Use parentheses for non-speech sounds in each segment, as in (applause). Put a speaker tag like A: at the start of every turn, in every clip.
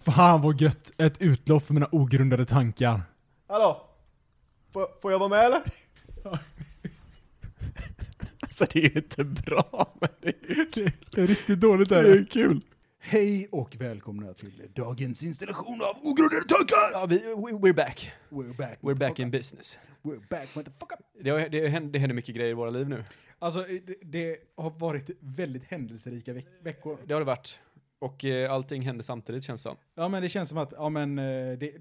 A: Fan vad gött! Ett utlopp för mina ogrundade tankar.
B: Hallå? Får, får jag vara med eller?
C: Alltså (laughs) det är ju inte bra, men det är ju kul.
A: Det är riktigt dåligt
C: Det är ju kul.
D: Hej och välkomna till dagens installation av Ogrundade tankar!
C: Ja, vi, we- we're back.
D: We're back.
C: We're back in
D: motherfucker.
C: business.
D: We're back motherfucker.
C: Det, har, det, händer, det händer mycket grejer i våra liv nu.
D: Alltså, det, det har varit väldigt händelserika veck veckor.
C: Det har det varit. Och eh, allting händer samtidigt känns det som.
D: Ja, men det känns som att, ja men, eh, det,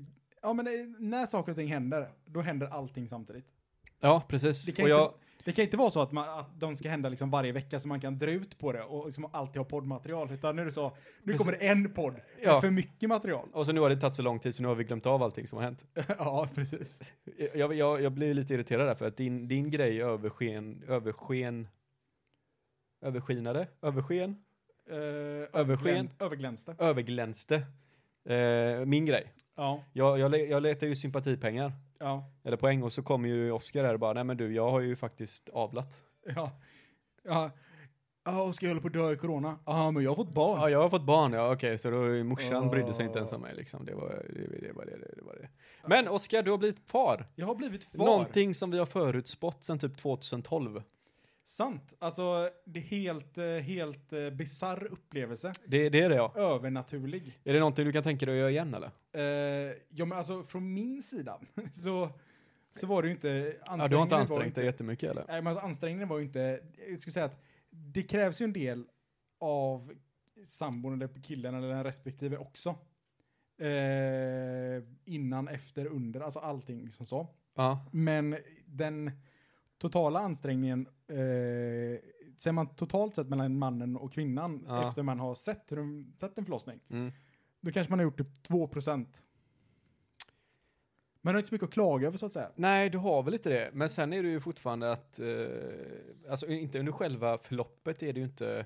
D: ja, men eh, när saker och ting händer, då händer allting samtidigt.
C: Ja, precis.
D: Det
C: Och
D: kan,
C: jag,
D: inte, det kan inte vara så att, man, att de ska hända liksom varje vecka så man kan dra ut på det och liksom alltid ha poddmaterial. Utan nu är det så, nu
C: Precis.
D: kommer det en podd med
C: Ja.
D: för mycket material. (laughs)
C: och så nu har det tagit så lång tid så nu har vi glömt av allting som har hänt.
D: ja, precis.
C: Jag, jag, jag blir lite irriterad där för att din, din grej översken, översken, överskinade, översken,
D: Uh,
C: Översken.
D: Överglänste.
C: överglänste eh, min grej.
D: Ja,
C: Jag, jag, le- jag letar ju sympatipengar,
D: ja,
C: eller poäng, och så kommer ju Oscar här och bara, nej men du, jag har ju faktiskt avlat.
D: (laughs) ja. Ja, ja ska jag hålla på att dö i corona? Ja, men jag har fått barn.
C: Ja, jag har fått barn, ja okej, så då morsan
D: Åh.
C: brydde sig inte ens om mig liksom. Det var det, det, var det, det, var det. Men Oscar, du har blivit far.
D: Jag har blivit far.
C: Någonting som vi har förutspått sedan typ 2012.
D: Sant. Alltså, det är helt, eh, helt eh, bisarr upplevelse.
C: Det, det är det ja.
D: Övernaturlig.
C: Är det någonting du kan tänka dig att göra igen eller?
D: Eh, ja, men alltså från min sida (laughs) så, så var det ju inte...
C: Ja, du har inte
D: var
C: ansträngt
D: inte-
C: dig jättemycket eller?
D: Nej, men alltså, ansträngningen var ju inte... Jag skulle säga att det krävs ju en del av sambon eller killen eller den respektive också. Eh, innan, efter, under, alltså allting liksom så.
C: Ja.
D: Men den totala ansträngningen, eh, ser man totalt sett mellan mannen och kvinnan
C: Ja.
D: efter man har sett, hur de- sett en förlossning,
C: Mm.
D: då kanske man har gjort typ 2%. Man har inte så mycket att klaga över så att säga.
C: Nej, du har väl inte det. Men sen är det ju fortfarande att, eh, alltså inte under själva förloppet är det ju inte...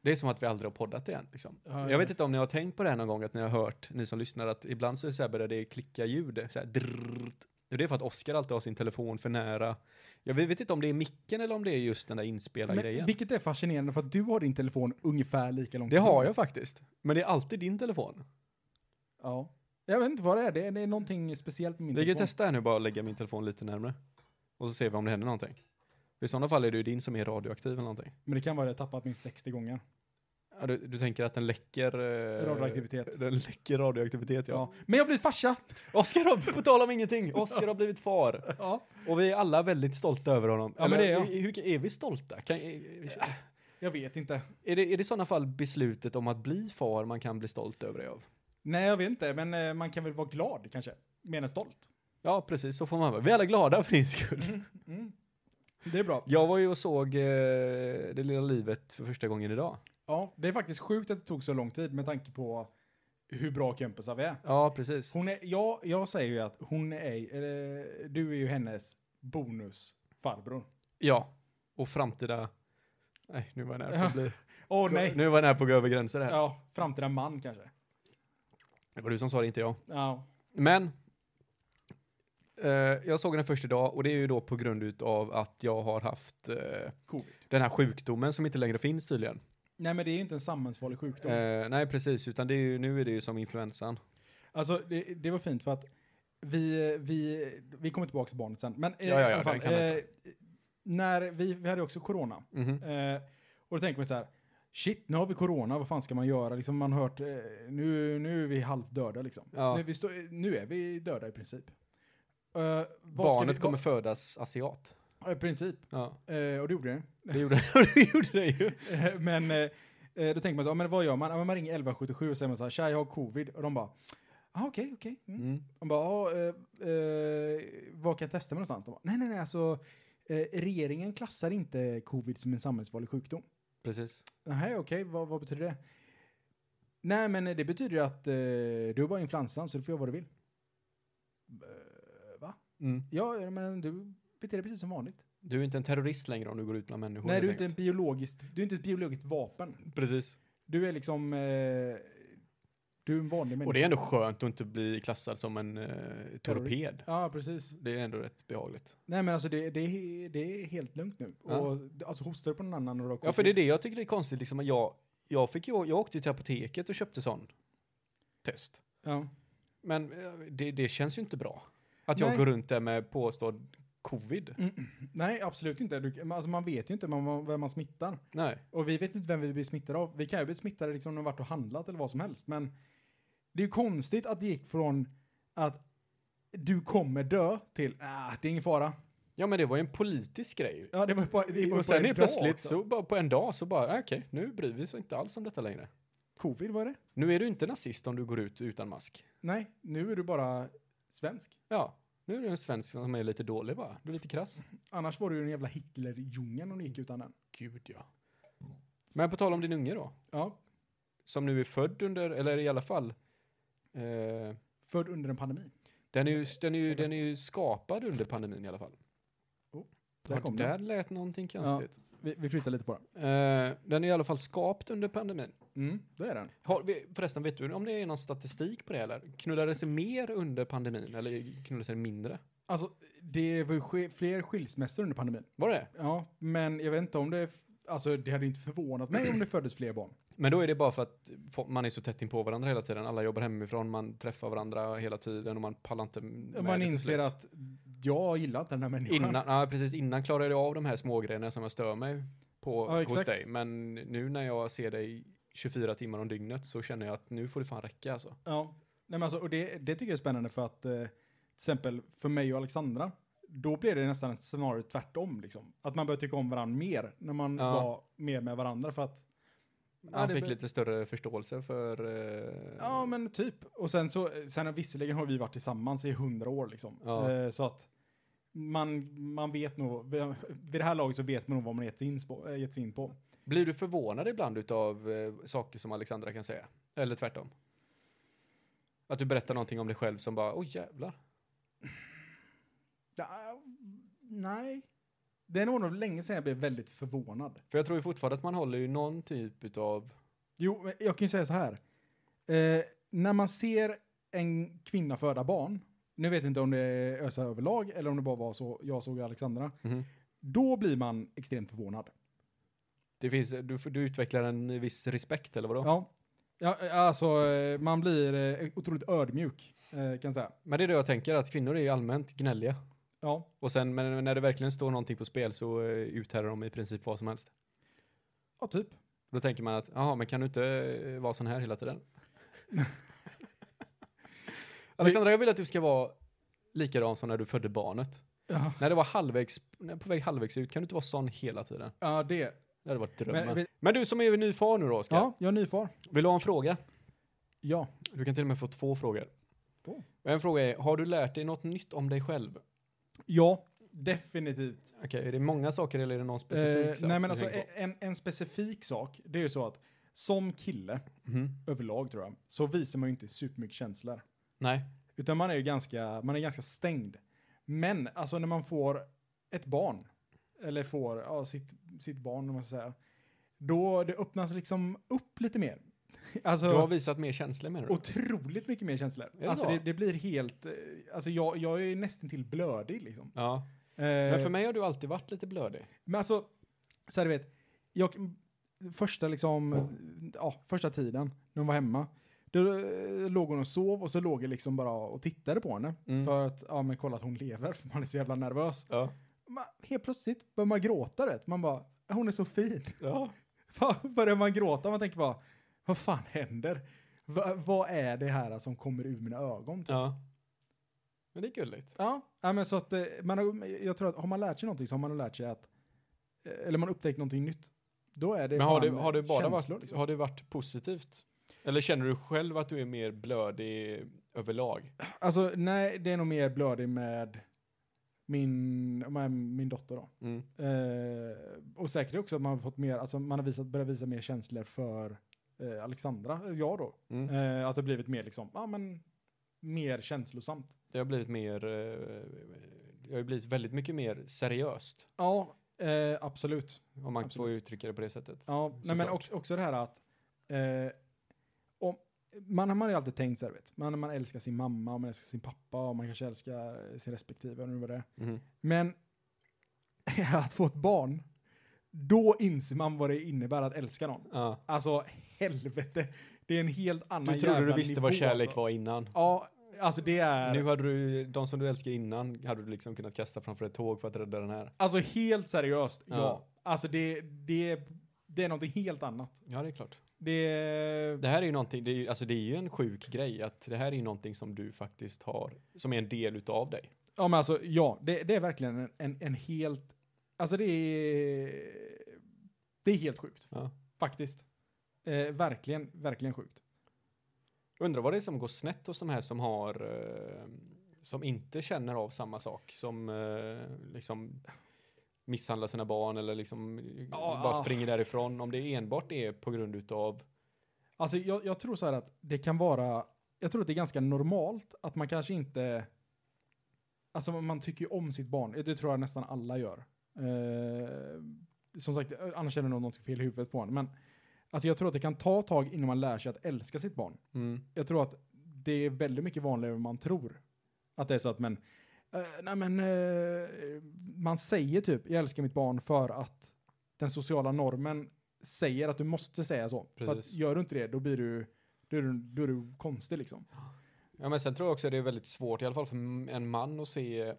C: Det är som att vi aldrig har poddat igen. Liksom.
D: Ja, ja.
C: jag vet inte om ni har tänkt på det här någon gång, att ni har hört, ni som lyssnar, att ibland så, är det så här börjar det klicka ljud. Så här, drrrt. Och det är för att Oskar alltid har sin telefon för nära. Jag vet inte om det är micken eller om det är just den där inspelade
D: Men,
C: grejen.
D: vilket är fascinerande för att du har din telefon ungefär lika långt
C: Det
D: ifrån.
C: har jag faktiskt. Men det är alltid din telefon.
D: Ja. Jag vet inte vad det är, det är, det är någonting speciellt med min
C: Vi kan ju
D: telefon.
C: testa här nu bara att lägga min telefon lite närmare. Och så ser vi om det händer någonting. För I sådana fall är det ju din som är radioaktiv eller någonting.
D: Men det kan vara att jag har tappat min 60 gånger.
C: Ja, du, du tänker att den läcker... Eh,
D: Radioaktivitet.
C: Den läcker radioaktivitet, ja.
D: Ja. Men jag blir farsa!
C: Oskar har, på tal om ingenting, Oskar har blivit far.
D: Ja.
C: Och vi är alla väldigt stolta över honom.
D: Ja, men det är jag.
C: i- hur, är vi stolta? Kan, är,
D: Jag vet inte.
C: är det, är det i sådana fall beslutet om att bli far man kan bli stolt över det av?
D: Nej, jag vet inte, men eh, man kan väl vara glad kanske. Mer än stolt.
C: Ja, precis, så får man vara. Vi är alla glada för din skull.
D: Mm. Det är bra.
C: Jag var ju och såg eh, Det lilla livet för första gången idag.
D: Ja, det är faktiskt sjukt att det tog så lång tid med tanke på hur bra kompisar vi är.
C: Ja, precis.
D: Hon är jag, jag säger ju att hon är, eller, du är ju hennes bonusfarbror.
C: Ja, och framtida... Nej, nu var jag nära på att bli...
D: Åh nej!
C: Nu var jag nära på att gå över gränser här.
D: Ja, framtida man kanske.
C: Det var du som sa det, inte jag.
D: Ja.
C: Men, eh, jag såg den först idag och det är ju då på grund av att jag har haft eh,
D: Covid.
C: den här sjukdomen som inte längre finns tydligen.
D: Nej men det är ju inte en samhällsfarlig sjukdom.
C: Eh, nej, precis, utan det är ju, nu är det ju som influensan.
D: Alltså det, det var fint för att vi, vi, vi kommer tillbaka till barnet sen. Men eh,
C: Ja, ja, ja,
D: i alla fall,
C: det kan jag
D: eh, när vi, vi hade ju också corona.
C: Mhm.
D: Eh, och då tänker man så här, shit, nu har vi corona, vad fan ska man göra? Liksom man har hört, eh, nu, nu är vi halvdöda liksom.
C: Ja.
D: Nu, vi stå, nu är vi döda i princip. Eh, vad ska
C: Barnet
D: vi,
C: kommer födas asiat.
D: Ja, I princip,
C: Ja,
D: eh, och det gjorde det.
C: det gjorde, det (laughs) gjorde det ju.
D: Eh, (laughs) men eh, eh, då tänker man så, ja, men vad gör man? Ja, men man ringer 1177 och säger man så här, tja, jag har covid. Och de bara, ah, okej, okej. Mm.
C: Mm.
D: De bara, ah, eh, eh, vad kan jag testa mig någonstans? De bara, nej, nej, nej, alltså eh, regeringen klassar inte covid som en samhällsfarlig sjukdom.
C: Precis.
D: Nej, okej, vad, vad betyder det? Nej, men det betyder ju att eh, du har bara influensan så du får göra vad du vill. Eh, Va?
C: Mm.
D: Ja, men du beter dig precis som vanligt.
C: Du är inte en terrorist längre om du går ut bland människor.
D: Nej,
C: helt
D: du är, inte en
C: enkelt.
D: biologisk, du är inte ett biologiskt vapen.
C: Precis.
D: Du är liksom... Eh, du är en vanlig människa.
C: Och det är ändå skönt att inte bli klassad som en eh, torped.
D: Ja, precis.
C: Det är ändå rätt behagligt.
D: Nej, men alltså det, det, är- det är helt lugnt nu.
C: Ja.
D: Och, alltså hostar du på någon annan och du har
C: Ja, för det är det jag tycker det är konstigt, liksom att jag, jag, fick ju, jag åkte ju till apoteket och köpte sån test.
D: Ja. (clears throat)
C: Men eh, det, det känns ju inte bra. Att jag
D: Nej.
C: går runt där med påstådd covid.
D: Nej, absolut inte. Du, men alltså man vet ju inte man, vem man smittar.
C: Nej.
D: Och vi vet inte vem vi blir smittade av. Vi kan ju bli smittade liksom när vi varit och handlat eller vad som helst. Men det är ju konstigt att det gick från att du kommer dö till ah, det är ingen fara.
C: Ja men det var ju en politisk grej.
D: Ja, det var ju bara, det var ju bara
C: och sen
D: en
C: är
D: dag
C: plötsligt
D: också.
C: så bara på en dag så bara, ah, okej, nu bryr vi oss inte alls om detta längre.
D: Covid var det?
C: Nu är du inte nazist om du går ut utan mask.
D: Nej, nu är du bara svensk.
C: Ja, nu är du en svensk som är lite dålig bara. Du är lite krass.
D: Annars var du ju den jävla Hitlerjungeln om du gick utan den.
C: Gud ja. Men på tal om din unge då,
D: Ja,
C: som nu är född under, eller i alla fall, eh,
D: född under en pandemi.
C: den, är
D: Eh,
C: ju, den, är ju, den är ju skapad under pandemin i alla fall.
D: Oh, där
C: där,
D: kom den.
C: där lät någonting konstigt.
D: Vi, vi flyttar lite på den.
C: Eh, den är i alla fall skapt under pandemin.
D: Mm, det är den.
C: Har vi, förresten, vet du om det är någon statistik på det eller? Knullades det mer under pandemin eller knullades det mindre?
D: Alltså, det var ju ske- fler skilsmässor under pandemin.
C: Var det
D: Ja, men jag vet inte om det... Alltså, det hade inte förvånat mig om det föddes fler barn.
C: Men då är det bara för att fo- man är så tätt in på varandra hela tiden. Alla jobbar hemifrån, man träffar varandra hela tiden och man pallar inte med
D: Man
C: det till
D: inser
C: slut.
D: att jag gillar inte den här människan.
C: Innan, ja, precis, innan klarade jag av de här smågrejerna som jag stör mig på
D: Ja,
C: hos
D: exakt.
C: dig. Men nu när jag ser dig 24 timmar om dygnet så känner jag att nu får det fan räcka alltså.
D: Ja. Nej, men alltså, och det, det tycker jag är spännande för att eh, till exempel för mig och Alexandra, då blev det nästan ett scenario tvärtom. Liksom. Att man började tycka om varandra mer när man
C: Ja.
D: var mer med varandra för att
C: Man
D: det
C: fick
D: blir-
C: lite större förståelse för... eh,
D: Ja, men typ. Och sen så, sen visserligen har vi varit tillsammans i hundra år liksom.
C: Ja.
D: Eh, så att man, man vet nog, vid det här laget så vet man nog vad man gett sig in på. eh, Gett sig in på.
C: Blir du förvånad ibland utav eh, saker som Alexandra kan säga? Eller tvärtom? Att du berättar någonting om dig själv som bara, åh jävlar.
D: Ja, nej. Det är nog nog länge sedan jag blev väldigt förvånad.
C: För jag tror ju fortfarande att man håller ju någon typ utav...
D: Jo, men jag kan ju säga så här. Eh, när man ser en kvinna föda barn, nu vet jag inte om det är ösa överlag eller om det bara var så jag såg Alexandra, då blir man extremt förvånad.
C: Det finns, du, du utvecklar en viss respekt eller vadå?
D: Ja. ja, alltså eh, man blir eh, otroligt ödmjuk eh, kan jag säga.
C: Men det är det jag tänker, att kvinnor är ju allmänt gnälliga.
D: Ja,
C: Och sen, men när det verkligen står någonting på spel så eh, uthärdar de i princip vad som helst.
D: ja typ.
C: Då tänker man att, jaha, men kan du inte eh, vara sån här hela
D: (laughs)
C: tiden? Alexandra, jag vill att du ska vara likadan som när du födde barnet.
D: Ja,
C: När det var halvvägs, när på väg halvvägs ut, kan du inte vara sån hela tiden?
D: ja det.
C: Det hade varit drömmen.
D: Men
C: Men,
D: vi-
C: du som är ny far nu då, Oskar.
D: Ja, jag är ny far.
C: Vill du ha en fråga?
D: Ja.
C: Du kan till och med få två frågor.
D: Två?
C: Och En fråga är, har du lärt dig något nytt om dig själv?
D: Ja, definitivt.
C: Okej, är det många saker eller är det någon specifik
D: Eh,
C: sak?
D: nej
C: du
D: men alltså
C: tänker på?
D: en, en specifik sak, det är ju så att som kille,
C: Mhm.
D: överlag tror jag, så visar man ju inte supermycket känslor.
C: Nej.
D: Utan man är ju ganska, man är ganska stängd. Men alltså när man får ett barn, eller får ja, sitt, sitt barn om man ska säga, då det öppnas liksom upp lite mer. (laughs) Alltså,
C: Du har visat mer känslor menar du?
D: otroligt mycket mer känslor.
C: det
D: alltså
C: så?
D: det, det blir helt, eh, alltså jag, jag är ju nästan till blödig liksom.
C: Ja.
D: Eh,
C: Men för mig har du alltid varit lite blödig.
D: men alltså, så här, du vet, jag, första liksom, ja, första tiden när hon var hemma, då eh, låg hon och sov och så låg jag liksom bara och tittade på henne
C: Mm.
D: för att, ja men kolla att hon lever, för man är så jävla nervös.
C: Ja.
D: Man, helt plötsligt börjar man gråta, du vet. Man bara, hon är så fin. (laughs)
C: ja.
D: Fan, börjar man gråta, man tänker bara, vad fan händer? Va, vad är det här som kommer ur mina ögon? Typ?
C: Ja. Men det är gulligt.
D: Ja, ja men så att eh, man har, jag tror att har man lärt sig någonting så har man nog lärt sig att, eh, eller man har upptäckt någonting nytt. Då är det
C: Men har
D: fan
C: det, har det bara
D: känslor,
C: varit,
D: liksom.
C: har det varit positivt? Eller känner du själv att du är mer blödig överlag?
D: Alltså nej, det är nog mer blödig med min, med min dotter då.
C: Mm.
D: Eh, och säkert också att man har fått mer, alltså man har visat, börjat visa mer känslor för eh, Alexandra, eh, jag då.
C: Mm.
D: Eh, att det har blivit mer liksom, ja men, mer känslosamt.
C: Det har blivit mer, eh, det har ju blivit väldigt mycket mer seriöst.
D: Ja, eh, absolut.
C: Om man får
D: Absolut.
C: uttrycka det på det sättet.
D: Ja, nej, men
C: såklart.
D: också, också det här att eh, om, man, man har ju alltid tänkt så här, vet man, man älskar sin mamma och man älskar sin pappa och man kanske Mm. (laughs) älskar sin respektive, eller vad det är.
C: Mhm.
D: Men att få ett barn, Då inser man vad det innebär att älska någon.
C: Ja.
D: Alltså helvete. Det är en helt annan
C: Du trodde du
D: jävla
C: visste
D: nivå,
C: vad kärlek
D: alltså.
C: var innan.
D: Ja, alltså det är...
C: Nu hade du, de som du älskade innan, hade du liksom kunnat kasta framför ett tåg för att rädda den här.
D: Alltså helt seriöst, ja.
C: Ja.
D: Alltså det, det, det är någonting helt annat.
C: Ja, det är klart.
D: Det...
C: Det här är ju någonting, det är, ju- alltså det är ju en sjuk grej att det här är ju någonting som du faktiskt har, som är en del utav dig.
D: Ja men alltså, ja. Det, det är verkligen en, en, en helt... Alltså det är... Det är helt sjukt.
C: Ja.
D: Faktiskt. Eh, verkligen, verkligen sjukt.
C: Undrar vad det är som går snett hos de här som har, eh, som inte känner av samma sak, som eh, liksom misshandlar sina barn eller liksom
D: Ja,
C: bara
D: ah.
C: springer därifrån. Om det enbart är på grund utav,
D: Alltså jag, jag tror så här att det kan vara, jag tror att det är ganska normalt att man kanske inte, alltså man tycker ju om sitt barn, det tror jag nästan alla gör. Eh, som sagt, annars känner nog något fel i huvudet på en, men alltså jag tror att det kan ta tag innan man lär sig att älska sitt barn.
C: mm,
D: Jag tror att det är väldigt mycket vanligare än man tror. Att det är så att men, eh, nej men, eh, man säger typ, jag älskar mitt barn för att den sociala normen säger att du måste säga så. För att
C: Precis.
D: gör du inte det, då blir du, då är du, då är du konstig liksom.
C: Ja, men sen tror jag också att det är väldigt svårt, i alla fall för m- en man, att se eh,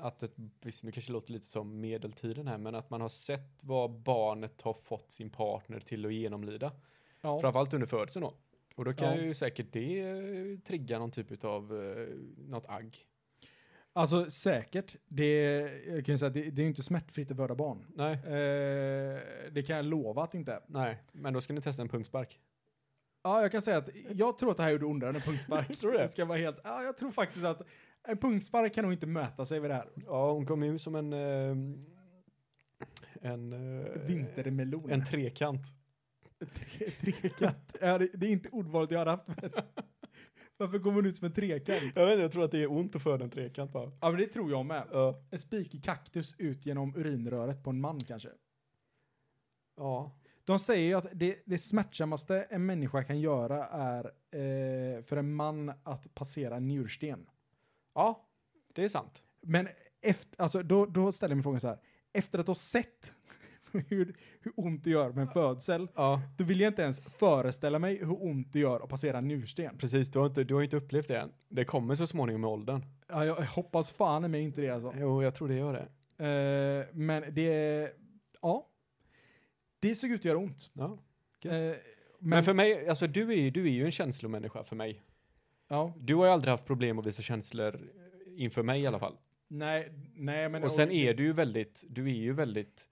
C: att ett, visst nu kanske det låter lite som medeltiden här, men att man har sett vad barnet har fått sin partner till att genomlida.
D: Ja.
C: Framförallt under födseln då. Och då kan
D: Ja.
C: ju säkert det eh, trigga någon typ av något agg.
D: Alltså säkert, det, jag kan ju säga att det, det är ju inte smärtfritt att föda barn.
C: Nej,
D: Eh, det kan jag lova att det inte är.
C: nej, men då ska ni testa en punkspark.
D: Ja, jag kan säga att jag tror att det här gjorde ondare än en (laughs) punktspark.
C: Tror du det?
D: Jag ska vara helt, ja, jag tror faktiskt att en punktspark kan nog inte mäta sig med det här.
C: Ja, hon kom ju som en... eh, en... eh,
D: Vintermelon.
C: En trekant.
D: tre- trekant. (laughs) Ja, det, det är inte ordvalet jag hade haft. (laughs) Men varför kommer hon ut som en trekant?
C: Jag vet inte, jag tror att det är ont att föda en trekant bara.
D: Ja, men det tror jag med.
C: Ja.
D: En spikig kaktus ut genom urinröret på en man kanske.
C: Ja.
D: De säger ju att det, det smärtsammaste en människa kan göra är eh, för en man att passera en njursten.
C: Ja, det är sant.
D: Men efter, alltså, då, då ställer jag mig frågan så här. Efter att ha sett (laughs) hur, hur ont det gör med en födsel,
C: Ja,
D: då vill jag inte ens föreställa mig hur ont det gör att passera en njursten.
C: precis. Du har inte, du har inte upplevt det än. Det kommer så småningom med åldern.
D: Ja, jag hoppas fan med inte det alltså.
C: Jo, jag tror det gör det.
D: Eh, men det, ja. Det såg ut att göra ont.
C: Ja.
D: Eh,
C: Gött.
D: men,
C: Men, för mig, alltså du är, ju- du är ju en känslomänniska för mig.
D: ja,
C: Du har ju aldrig haft problem att visa känslor inför mig i alla fall.
D: nej, nej men.
C: och sen är du ju väldigt, du är ju väldigt,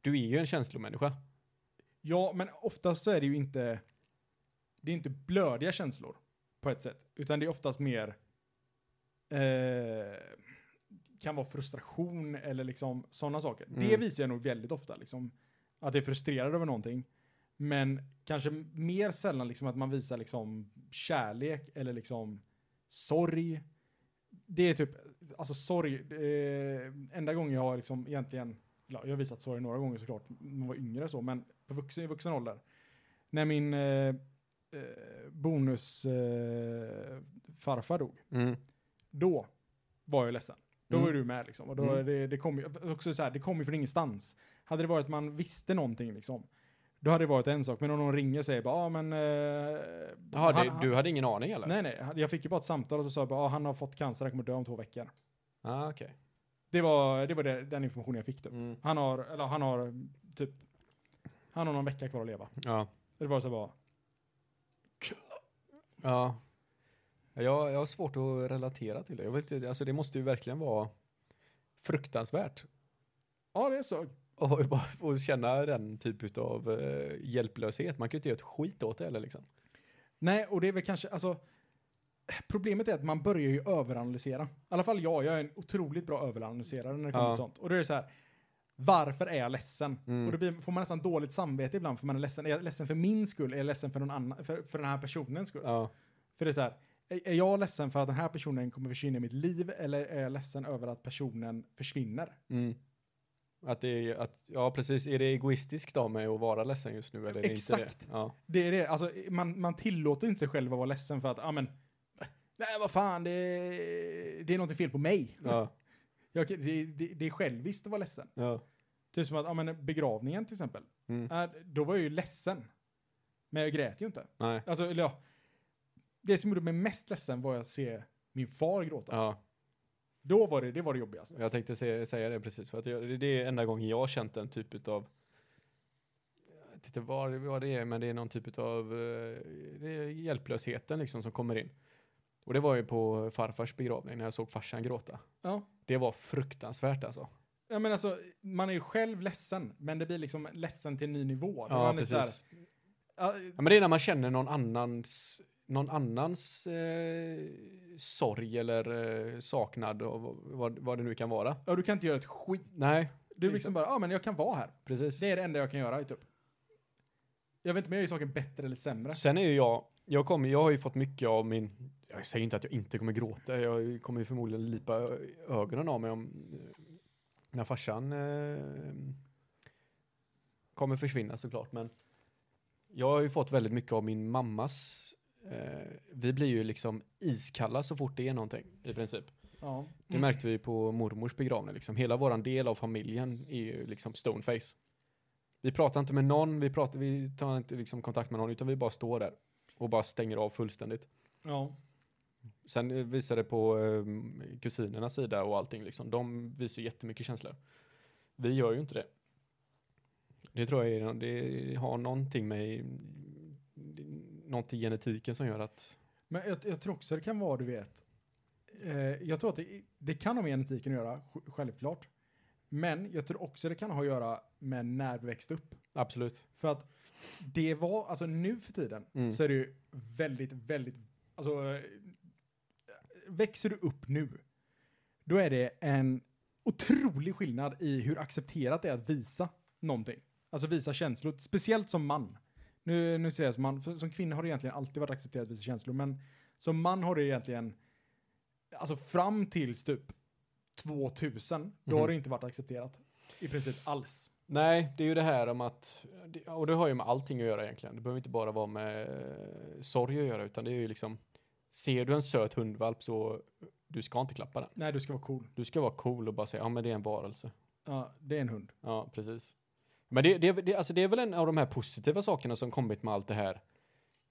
C: du är ju en känslomänniska.
D: Ja, men oftast så är det ju inte, det är inte blödiga känslor på ett sätt, utan det är oftast mer, eh, kan vara frustration eller liksom sådana saker. Det
C: Mm.
D: visar jag nog väldigt ofta, liksom, att jag är frustrerad över någonting. Men kanske mer sällan liksom att man visar liksom kärlek eller liksom sorg. Det är typ, alltså sorg, eh, enda gången jag har liksom egentligen, ja, jag har visat sorg några gånger såklart, när jag var yngre så, men på vuxen, i vuxen ålder. När min eh, eh, bonus eh, farfar dog, då var jag ledsen. Då
C: Mm.
D: var du med liksom. Och då,
C: Mm.
D: det, det kom ju också så här, det kom ju från ingenstans. Hade det varit att man visste någonting liksom, då hade det varit en sak. Men om någon ringer och säger bara, ja ah, men... Eh,
C: Jaha,
D: han-
C: det, du hade ingen aning eller?
D: Nej, nej. Jag fick ju bara ett samtal och så sa jag bara, ah, han har fått cancer, han kommer dö om två veckor.
C: Ah, okej.
D: Det var, det var det, den informationen jag fick typ.
C: Mm.
D: Han har, eller han har typ, han har någon vecka kvar att leva.
C: Ja.
D: Det var så här bara,
C: Ja. Jag, jag har svårt att relatera till det. Jag vet inte, alltså det måste ju verkligen vara fruktansvärt.
D: ja det såg.
C: Och, och känna den typ av hjälplöshet. Man kan ju inte göra ett skit åt det heller liksom.
D: Nej, och det är väl kanske, alltså, problemet är att man börjar ju överanalysera. I alla fall jag, jag är en otroligt bra överanalyserare när det kommer
C: Ja.
D: till sånt. Och då är det så här, varför är jag ledsen?
C: Mm.
D: Och då blir, får man nästan dåligt samvete ibland för man är ledsen. Är jag ledsen för min skull? Är jag ledsen för, någon annan, för, för den här personens skull?
C: Ja.
D: För det är så här, är, är jag ledsen för att den här personen kommer försvinna i mitt liv? Eller är jag ledsen över att personen försvinner?
C: Mm. Att det är, att, ja precis, är det egoistiskt av mig att vara ledsen just nu eller är det inte
D: Exakt.
C: det? Ja.
D: Det är det, alltså man, man tillåter inte sig själv att vara ledsen för att, ja men, nej vad fan, det, det är något fel på mig.
C: Ja.
D: Jag, kan- det, det, det är själviskt att vara ledsen.
C: Ja.
D: Typ som att, ja men begravningen till exempel.
C: Mm.
D: Äh, då var jag ju ledsen. Men jag grät ju inte.
C: Nej.
D: Alltså, eller ja. Det som gjorde mig mest ledsen var att se min far gråta.
C: Ja,
D: Då var det, det var det jobbigaste.
C: jag tänkte se, säga det precis. För att jag, det- det är enda gången jag har känt en typ av jag vet inte vad det, vad det är, men det är någon typ av det är hjälplösheten liksom som kommer in. Och det var ju på farfars begravning när jag såg farsan gråta.
D: Ja.
C: Det var fruktansvärt alltså.
D: Ja men alltså, man är ju själv ledsen, men det blir liksom ledsen till en ny nivå. Då
C: Ja,
D: man är så här,
C: precis.
D: ja,
C: Ja, men det är när man känner någon annans, någon annans eh, sorg eller eh, saknad och vad, vad det nu kan vara.
D: ja, du kan inte göra ett skit.
C: Nej,
D: Du liksom
C: Exakt.
D: bara, ja men jag kan vara här.
C: precis.
D: Det är det enda jag kan göra, typ. Jag vet inte om jag gör saker bättre eller sämre.
C: Sen är ju jag, jag, kommer, jag har ju fått mycket av min, jag säger inte att jag inte kommer gråta, jag kommer ju förmodligen lipa ö- ögonen av mig om eh, när farsan eh, kommer försvinna såklart, men jag har ju fått väldigt mycket av min mammas, eh, vi blir ju liksom iskalla så fort det är någonting i princip.
D: Ja.
C: Det märkte vi på mormors begravning. Liksom. Hela våran del av familjen är ju liksom stoneface. Vi pratar inte med någon, vi, pratar, vi tar inte liksom kontakt med någon, utan vi bara står där och bara stänger av fullständigt.
D: Ja.
C: Sen eh, visar det på eh, kusinernas sida och allting, liksom. de visar ju jättemycket känslor. Vi gör ju inte det. Det tror jag är, det har någonting med, någonting i genetiken som gör att,
D: Men jag, jag tror också det kan vara, du vet. Eh, jag tror att det, det kan ha med genetiken att göra, sj- självklart. Men jag tror också det kan ha att göra med när vi växte upp.
C: absolut.
D: För att det var, alltså nu för tiden
C: Mm.
D: så är det ju väldigt, väldigt, alltså eh, växer du upp nu, då är det en otrolig skillnad i hur accepterat det är att visa någonting. Alltså visa känslor, speciellt som man. Nu, nu säger jag som man, för som kvinna har det egentligen alltid varit accepterat att visa känslor, men som man har det egentligen, alltså fram tills typ 2000, då har
C: Mhm.
D: det inte varit accepterat i princip alls.
C: Nej, det är ju det här om att, det- och det har ju med allting att göra egentligen. Det behöver inte bara vara med eh, sorg att göra, utan det är ju liksom, ser du en söt hundvalp så du ska inte klappa den.
D: Nej, du ska vara cool.
C: Du ska vara cool och bara säga, ja men det är en varelse.
D: Ja, det är en hund.
C: Ja, precis. Men det, det, det, alltså det är väl en av de här positiva sakerna som kommit med allt det här,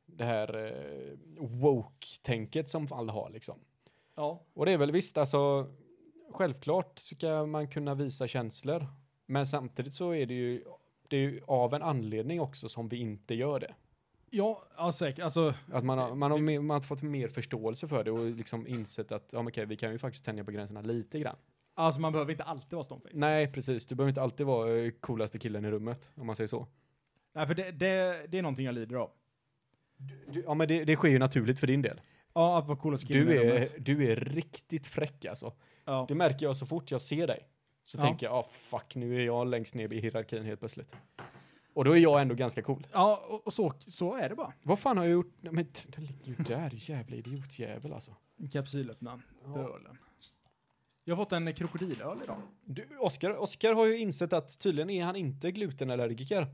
C: det här eh, woke-tänket som alla har liksom.
D: Ja.
C: Och det är väl visst, alltså självklart ska man kunna visa känslor. Men samtidigt så är det ju, det är ju av en anledning också som vi inte gör det.
D: Ja, ja säkert. Alltså,
C: Att man har, man har, mer, man har fått mer förståelse för det och liksom insett att ja, men okej, vi kan ju faktiskt tänja på gränserna lite grann.
D: alltså man behöver inte alltid vara stoneface. Nej.
C: Nej, precis. Du behöver inte alltid vara eh, coolaste killen i rummet, om man säger så.
D: för det, det, det är någonting jag lider av.
C: Du, ja, men det, det sker ju naturligt för din del.
D: Ja, att vara coolast killen
C: Du
D: i
C: är,
D: rummet.
C: du är riktigt fräck alltså.
D: Ja.
C: Det märker jag så fort jag ser dig. Så
D: Ja.
C: tänker jag, ah fuck, nu är jag längst ner i hierarkin helt plötsligt. Och då är jag ändå ganska cool.
D: Ja, och, och så, så är det bara.
C: Vad fan har jag gjort? Nej, men t- den ligger ju där, jävla idiotjävel alltså.
D: Kapsylöppnaren.
C: Ja.
D: Ölen. Jag har fått en krokodilöl idag.
C: Du, Oscar, Oscar har ju insett att tydligen är han inte glutenallergiker.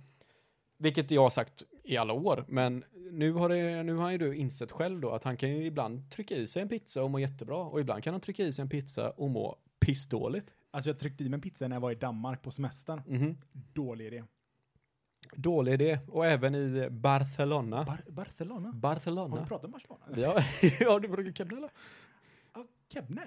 C: Vilket jag har sagt i alla år, men nu har, det, nu har han ju du insett själv då att han kan ju ibland trycka i sig en pizza och må jättebra och ibland kan han trycka i sig en pizza och må pissdåligt.
D: Alltså jag tryckte i mig en pizza när jag var i Danmark på semestern.
C: Mhm.
D: Dålig idé.
C: Dålig idé. Och även i Barcelona.
D: Bar- Barcelona?
C: Barcelona.
D: Har du pratat om Barcelona?
C: Ja, ja du brukar kebna eller?
D: Ja, Kebne.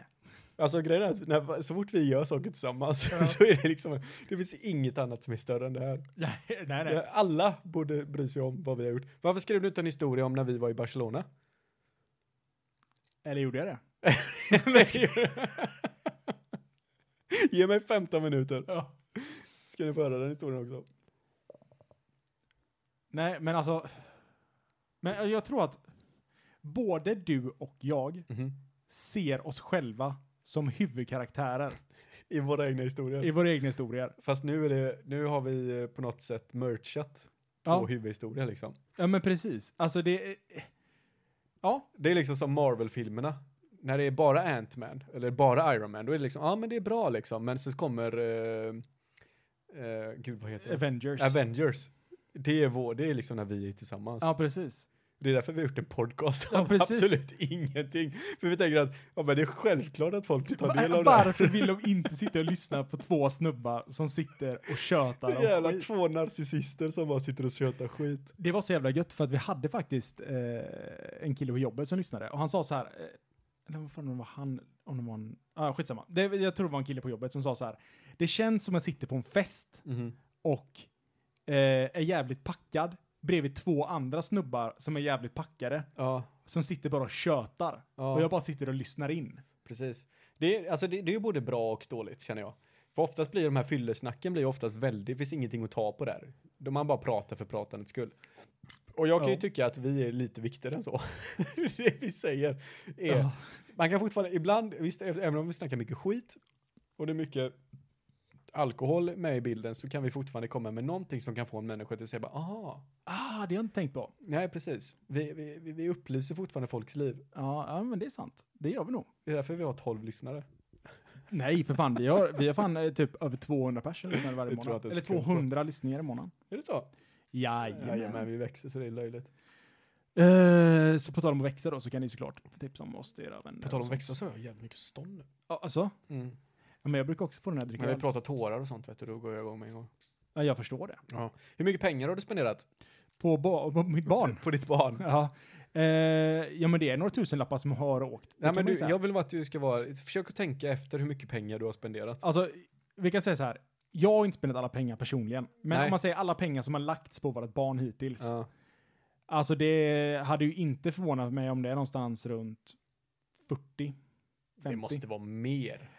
C: Alltså grejen är att när, så fort vi gör saker tillsammans (laughs) så är det liksom, det finns inget annat som är större än det här.
D: (laughs) Nej, nej. nej.
C: Det- Alla borde bry sig om vad vi har gjort. Varför skrev du inte en historia om när vi var i Barcelona? (laughs)
D: Eller gjorde jag det?
C: Men ska jag- (laughs) Ge mig 15 minuter. Ska ni få höra den historien också?
D: Nej, men alltså. Men jag tror att både du och jag ser oss själva som huvudkaraktärer
C: I våra egna historier.
D: i våra egna historier.
C: Fast nu, är det, nu har vi eh, på något sätt merchat två
D: Ja.
C: huvudhistorier liksom.
D: Ja, men precis. Alltså det... är- Ja,
C: Det är liksom som Marvel-filmerna. När det är bara Ant-Man, eller bara Iron Man, då är det liksom, ja ah, men det är bra liksom, men så kommer, eh, eh, gud vad heter det?
D: Avengers.
C: Avengers. Det är vår, det är liksom när vi är tillsammans.
D: ja, precis.
C: Det är därför vi har gjort en podcast
D: Ja,
C: om
D: precis.
C: absolut ingenting. För vi tänker att ja, men det är självklart att folk tar del av det. här.
D: Varför vill de inte sitta och lyssna på två snubbar som sitter och tjötar om
C: Jävla
D: skit?
C: två narcissister som bara sitter och tjötar skit.
D: Det var så jävla gött för att vi hade faktiskt eh, en kille på jobbet som lyssnade och han sa så här, eh, eller vad fan om det var han, om det var en, ah, skitsamma. Det, jag tror det var en kille på jobbet som sa så här, det känns som att jag sitter på en fest och eh, är jävligt packad bredvid två andra snubbar som är jävligt packade
C: Ja,
D: som sitter bara och tjötar
C: Ja.
D: och jag bara sitter och lyssnar in.
C: precis. Det är, alltså, det, det är ju både bra och dåligt känner jag. För oftast blir de här fyllesnacken blir ju oftast väldigt, det finns ingenting att ta på där. De- Man bara pratar för pratandets skull. Och jag kan ju
D: Ja.
C: tycka att vi är lite viktigare än så. (laughs) det vi säger är, man kan fortfarande, ibland, visst, ä- även om vi snackar mycket skit och det är mycket alkohol med i bilden så kan vi fortfarande komma med någonting som kan få en människa till att säga bara, aha,
D: Ah, det har jag inte tänkt på.
C: nej precis. Vi, vi, vi- vi upplyser fortfarande folks liv.
D: Ja, ja, men det är sant. Det gör vi nog.
C: Det är därför vi har 12 lyssnare.
D: Nej, för fan. Vi har, vi har fan eh, typ över 200 personer lyssnare varje
C: Det tror jag
D: månad.
C: inte ens
D: Eller
C: jag kunde
D: 200 lyssningar i månaden.
C: Är det så? Jajamän,
D: Jajamän.
C: vi växer så det är löjligt.
D: Eh, så på tal om att växa då så kan ni såklart tipsa om oss till era vänner.
C: På tal om
D: växa.
C: växa så har jag jävligt mycket stånd nu.
D: Ja, alltså?
C: Mm.
D: Ja, men jag brukar också få den här dricka.
C: Men vi
D: öl.
C: pratar tårar och sånt vet du, då går jag igång med en gång.
D: Ja, jag förstår det.
C: Hur mycket pengar har du spenderat?
D: På, ba- på mitt barn.
C: På ditt barn?
D: ja. Eh, ja, men det är några tusenlappar som har åkt. Det
C: Nej
D: kan
C: men
D: man ju
C: du,
D: säga.
C: jag vill bara att du ska vara, försök att tänka efter hur mycket pengar du har spenderat.
D: Alltså, vi kan säga så här. Jag har inte spenderat alla pengar personligen. Men
C: Nej.
D: om man säger alla pengar som har lagts på vårt barn hittills. Alltså det hade ju inte förvånat mig om det är någonstans runt 40. 50.
C: Det måste vara mer.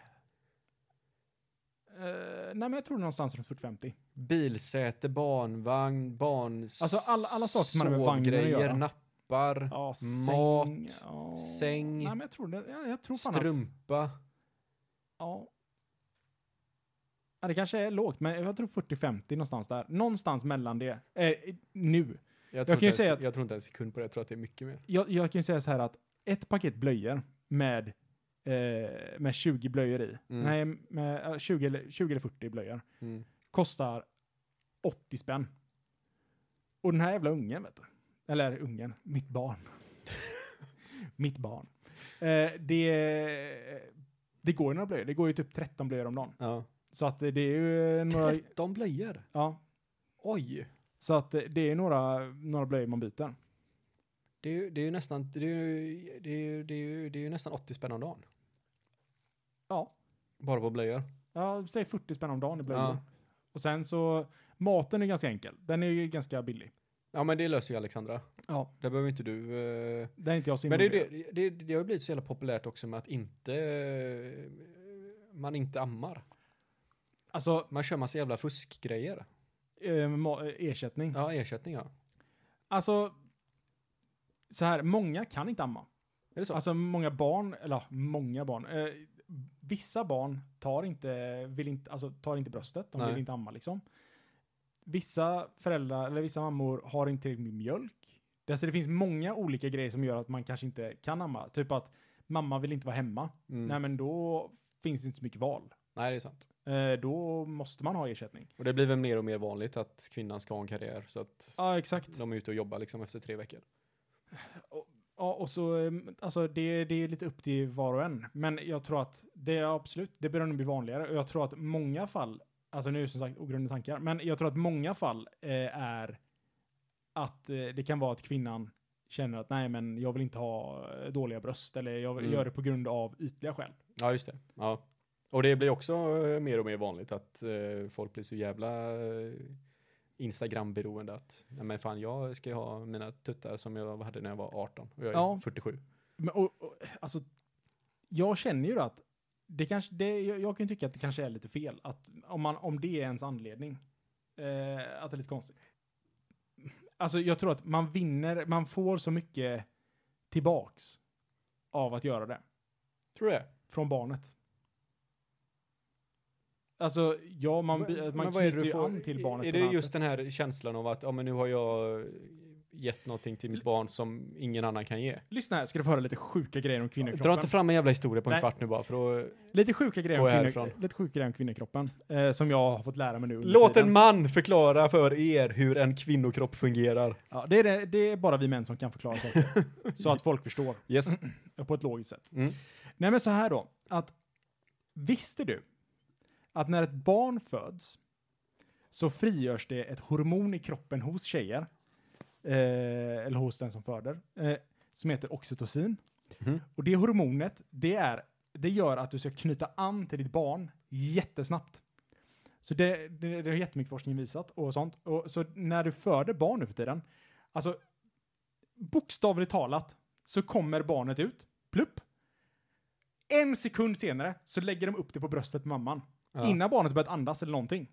D: Eh, nej men jag tror någonstans runt 40-50.
C: Bilsäte, barnvagn, barn...
D: Alltså, alla- alla saker som har med vagnen att
C: sovgrejer,
D: göra.
C: nappar,
D: Ja,
C: mat,
D: ja.
C: säng,
D: Nej men jag tror det. Jag, jag tror fan att...
C: strumpa.
D: Ja. ja. Det kanske är lågt men jag tror 40-50 någonstans där. Någonstans mellan det. Eh, nu.
C: Jag,
D: kan
C: tror
D: ju
C: inte
D: säga
C: ens,
D: att-
C: jag tror inte en sekund på det, jag tror att det är mycket mer.
D: Jag, jag kan ju säga så här att ett paket blöjor med, eh, med 20 blöjor i.
C: Mm.
D: Nej, med eh, 20, eller- 20 eller 40 blöjor.
C: Mm.
D: kostar 80 spänn. Och den här jävla ungen, vet du. Eller ungen, mitt barn. (laughs) mitt barn. Eh, det, det går ju några blöjor. Det går ju typ 13 blöjor om dagen.
C: Ja.
D: Så att det är ju några...
C: 13 blöjor?
D: Ja,
C: Oj!
D: så att det är några, några blöjor man byter.
C: Det är, ju- det är ju nästan, det är, ju- det är, ju- det är, ju- det är ju nästan 80 spänn om dagen.
D: Ja,
C: Bara på blöjor.
D: ja säg 40 spänn om dagen i blöjor.
C: Ja.
D: Och sen så, maten är ganska enkel. Den är ju ganska billig.
C: Ja men det löser ju Alexandra.
D: Ja.
C: Det behöver inte du... eh,
D: Den är inte jag så
C: Men det, är
D: involverad.
C: ju det, det, det har ju blivit så jävla populärt också med att inte... eh, Man inte ammar.
D: Alltså,
C: Man kör massa jävla fuskgrejer.
D: eh, ma- eh, ersättning.
C: Ja, ersättning ja. Mm.
D: Alltså, så här, många kan inte amma.
C: Är det så?
D: Alltså många barn, eller ja, många barn. Eh, vissa barn tar inte, vill inte, alltså, tar inte bröstet, de
C: Nej.
D: vill inte amma liksom. Vissa föräldrar, eller vissa mammor har inte tillräckligt med mjölk. Det- Alltså det finns många olika grejer som gör att man kanske inte kan amma. Typ att mamma vill inte vara hemma.
C: Mm.
D: Nej men då finns det inte så mycket val.
C: Nej, det är sant.
D: Eh, då måste man ha ersättning.
C: Och det blir väl mer och mer vanligt att kvinnan ska ha en karriär så att
D: Ja exakt.
C: de är ute och jobbar liksom efter tre veckor.
D: Ja, och så, eh, alltså det, det är lite upp till var och en. Men jag tror att det är absolut, det börjar nog bli vanligare. Och jag tror att många fall, alltså nu är det som sagt ogrundade tankar, men jag tror att många fall eh, är att eh, det kan vara att kvinnan känner att nej, men jag vill inte ha eh, dåliga bröst eller jag vill
C: Mm.
D: gör det på grund av ytliga skäl.
C: Ja, just det. Ja. Och det blir också eh, mer och mer vanligt att eh, folk blir så jävla eh, Instagram-beroende att nej men fan jag ska ju ha mina tuttar som jag hade när jag var 18 och jag är
D: Ja.
C: 47.
D: Men, och, och, alltså, jag känner ju att det kanske, det, jag, jag kan ju tycka att det kanske är lite fel. Att om, man, om det är ens anledning. Eh, att det är lite konstigt. Alltså jag tror att man vinner, man får så mycket tillbaks av att göra det.
C: Tror du det?
D: Från barnet. Alltså, ja, man,
C: Men-
D: blir-
C: men
D: man
C: vad är det
D: knyter
C: du
D: ju
C: får-
D: an till barnet.
C: Är
D: på
C: det
D: något
C: just
D: sätt.
C: den här känslan av att ja, men nu har jag gett någonting till mitt barn som ingen annan kan ge.
D: Lyssna här, ska du få höra lite sjuka grejer om
C: Dra inte
D: kvinnokroppen.
C: fram en jävla historia på en
D: Nej.
C: kvart nu bara, för då...
D: Lite sjuka grejer om,
C: Gå
D: kvinnok-
C: härifrån.
D: lite sjuka grejer om kvinnokroppen, eh, som jag har fått lära mig nu. under
C: Låt
D: tiden.
C: en man förklara för er hur en kvinnokropp fungerar.
D: Ja, det, är det, det är bara vi män som kan förklara saker. så att folk förstår,
C: Yes.
D: på ett logiskt sätt.
C: Mm.
D: Nej men så här då, att visste du att när ett barn föds så frigörs det ett hormon i kroppen hos tjejer, eh, eller hos den som föder, eh, som heter oxytocin.
C: Mhm.
D: Och det hormonet, det, är, det gör att du ska knyta an till ditt barn jättesnabbt. Så det, det, det har jättemycket forskning visat och sånt. Och, så när du föder barn nu för tiden, alltså bokstavligt talat, så kommer barnet ut, plupp. En sekund senare så lägger de upp det på bröstet på mamman.
C: Ja.
D: Innan barnet börjat andas eller någonting.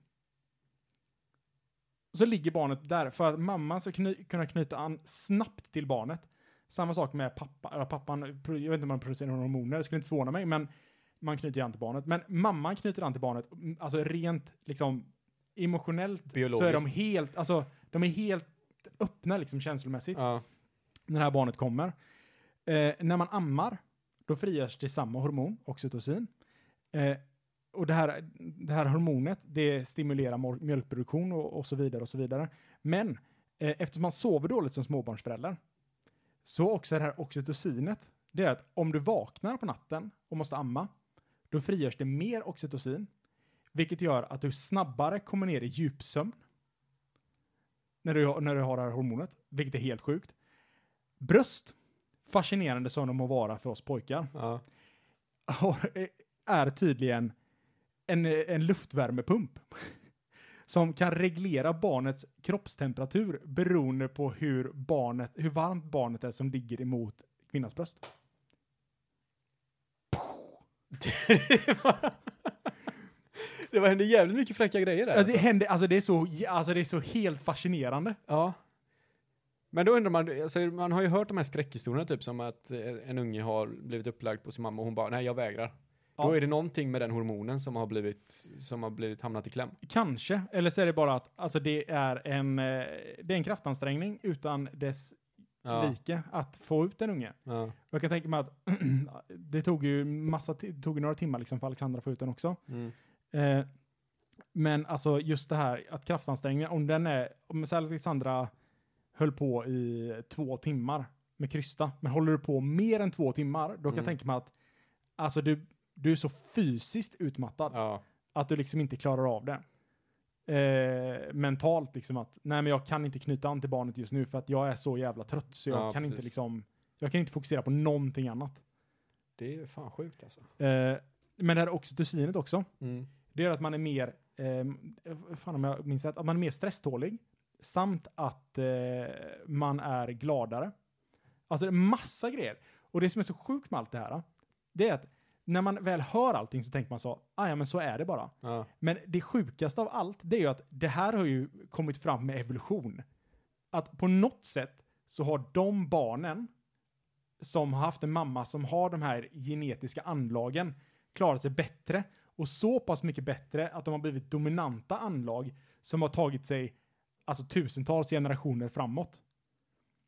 D: Så ligger barnet där för att mamman ska kny- kunna knyta an snabbt till barnet. Samma sak med pappa, eller pappan, pro- jag vet inte om man producerar några hormoner, det skulle inte förvåna mig, men man knyter ju an till barnet. Men mamman knyter an till barnet, mm, alltså rent liksom emotionellt så är de
C: Biologiskt.
D: helt, alltså de är helt öppna liksom känslomässigt
C: Ja.
D: när det här barnet kommer. Eh, när man ammar, då frigörs det samma hormon, oxytocin. Eh, och det här, det här hormonet, det stimulerar mor- mjölkproduktion och, och så vidare och så vidare. Men eh, eftersom man sover dåligt som småbarnsförälder, så också det här oxytocinet, det är att om du vaknar på natten och måste amma, då frigörs det mer oxytocin, vilket gör att du snabbare kommer ner i djupsömn när du, när du har det här hormonet, vilket är helt sjukt. Bröst, fascinerande som de må vara för oss pojkar, (laughs)
C: Ja.
D: har- är tydligen en, en luftvärmepump (laughs) som kan reglera barnets kroppstemperatur beroende på hur, barnet, hur varmt barnet är som ligger emot kvinnans bröst.
C: det, var, (laughs) det var hände jävligt mycket fräcka grejer där.
D: Ja, det,
C: alltså.
D: händer, alltså det, är så, alltså det är så helt fascinerande.
C: ja. Men då undrar man, alltså, man har ju hört de här skräckhistorierna typ som att eh, en unge har blivit upplagd på sin mamma och hon bara nej jag vägrar. Då
D: Ja.
C: är det någonting med den hormonen som har blivit, som har blivit hamnat i kläm.
D: Kanske, eller så är det bara att alltså det, är en, eh, det är en kraftansträngning utan dess
C: Ja.
D: like att få ut en unge.
C: Ja.
D: Och Jag kan tänka mig att (clears throat) det tog ju massa, ti- det tog ju några timmar liksom för Alexandra att få ut den också.
C: Mm.
D: Eh, men alltså just det här att kraftansträngningen, om den är, om så här Alexandra höll på i två timmar med krysta, men håller du på mer än två timmar, då kan
C: Mm.
D: jag tänka mig att alltså du, du är så fysiskt utmattad
C: Ja.
D: att du liksom inte klarar av det. Eh, mentalt liksom att, nej men jag kan inte knyta an till barnet just nu för att jag är så jävla trött så jag
C: Ja,
D: kan inte
C: precis.
D: liksom, jag kan inte fokusera på någonting annat.
C: Det är fan sjukt alltså.
D: Eh, men det här oxytocinet också,
C: Mm.
D: det gör att man är mer, eh, fan om jag minns rätt, att man är mer stresstålig samt att eh, man är gladare. Alltså det är massa grejer. Och det som är så sjukt med allt det här, det är att när man väl hör allting så tänker man så, "Ah, ja men så är det bara.
C: Ja.
D: Men det sjukaste av allt, det är ju att det här har ju kommit fram med evolution. Att på något sätt så har de barnen som har haft en mamma som har de här genetiska anlagen klarat sig bättre och så pass mycket bättre att de har blivit dominanta anlag som har tagit sig alltså tusentals generationer framåt.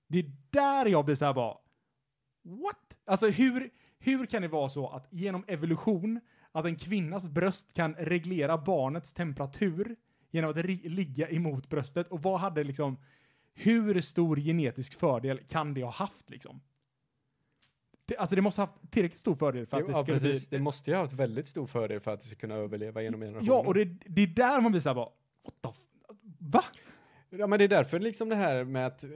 D: Det är där jag blir så här bara what? Alltså hur, hur kan det vara så att genom evolution att en kvinnas bröst kan reglera barnets temperatur genom att ri- ligga emot bröstet och vad hade liksom hur stor genetisk fördel kan det ha haft liksom? Det, alltså det måste ha haft tillräckligt stor fördel för
C: Det,
D: att det
C: ja,
D: skulle
C: precis.
D: bli
C: Det måste ju ha haft väldigt stor fördel för att det ska kunna överleva genom generationer.
D: Ja, och det, det är där man blir såhär bara, what the f- Va?
C: Ja, men det är därför liksom det här med att eh,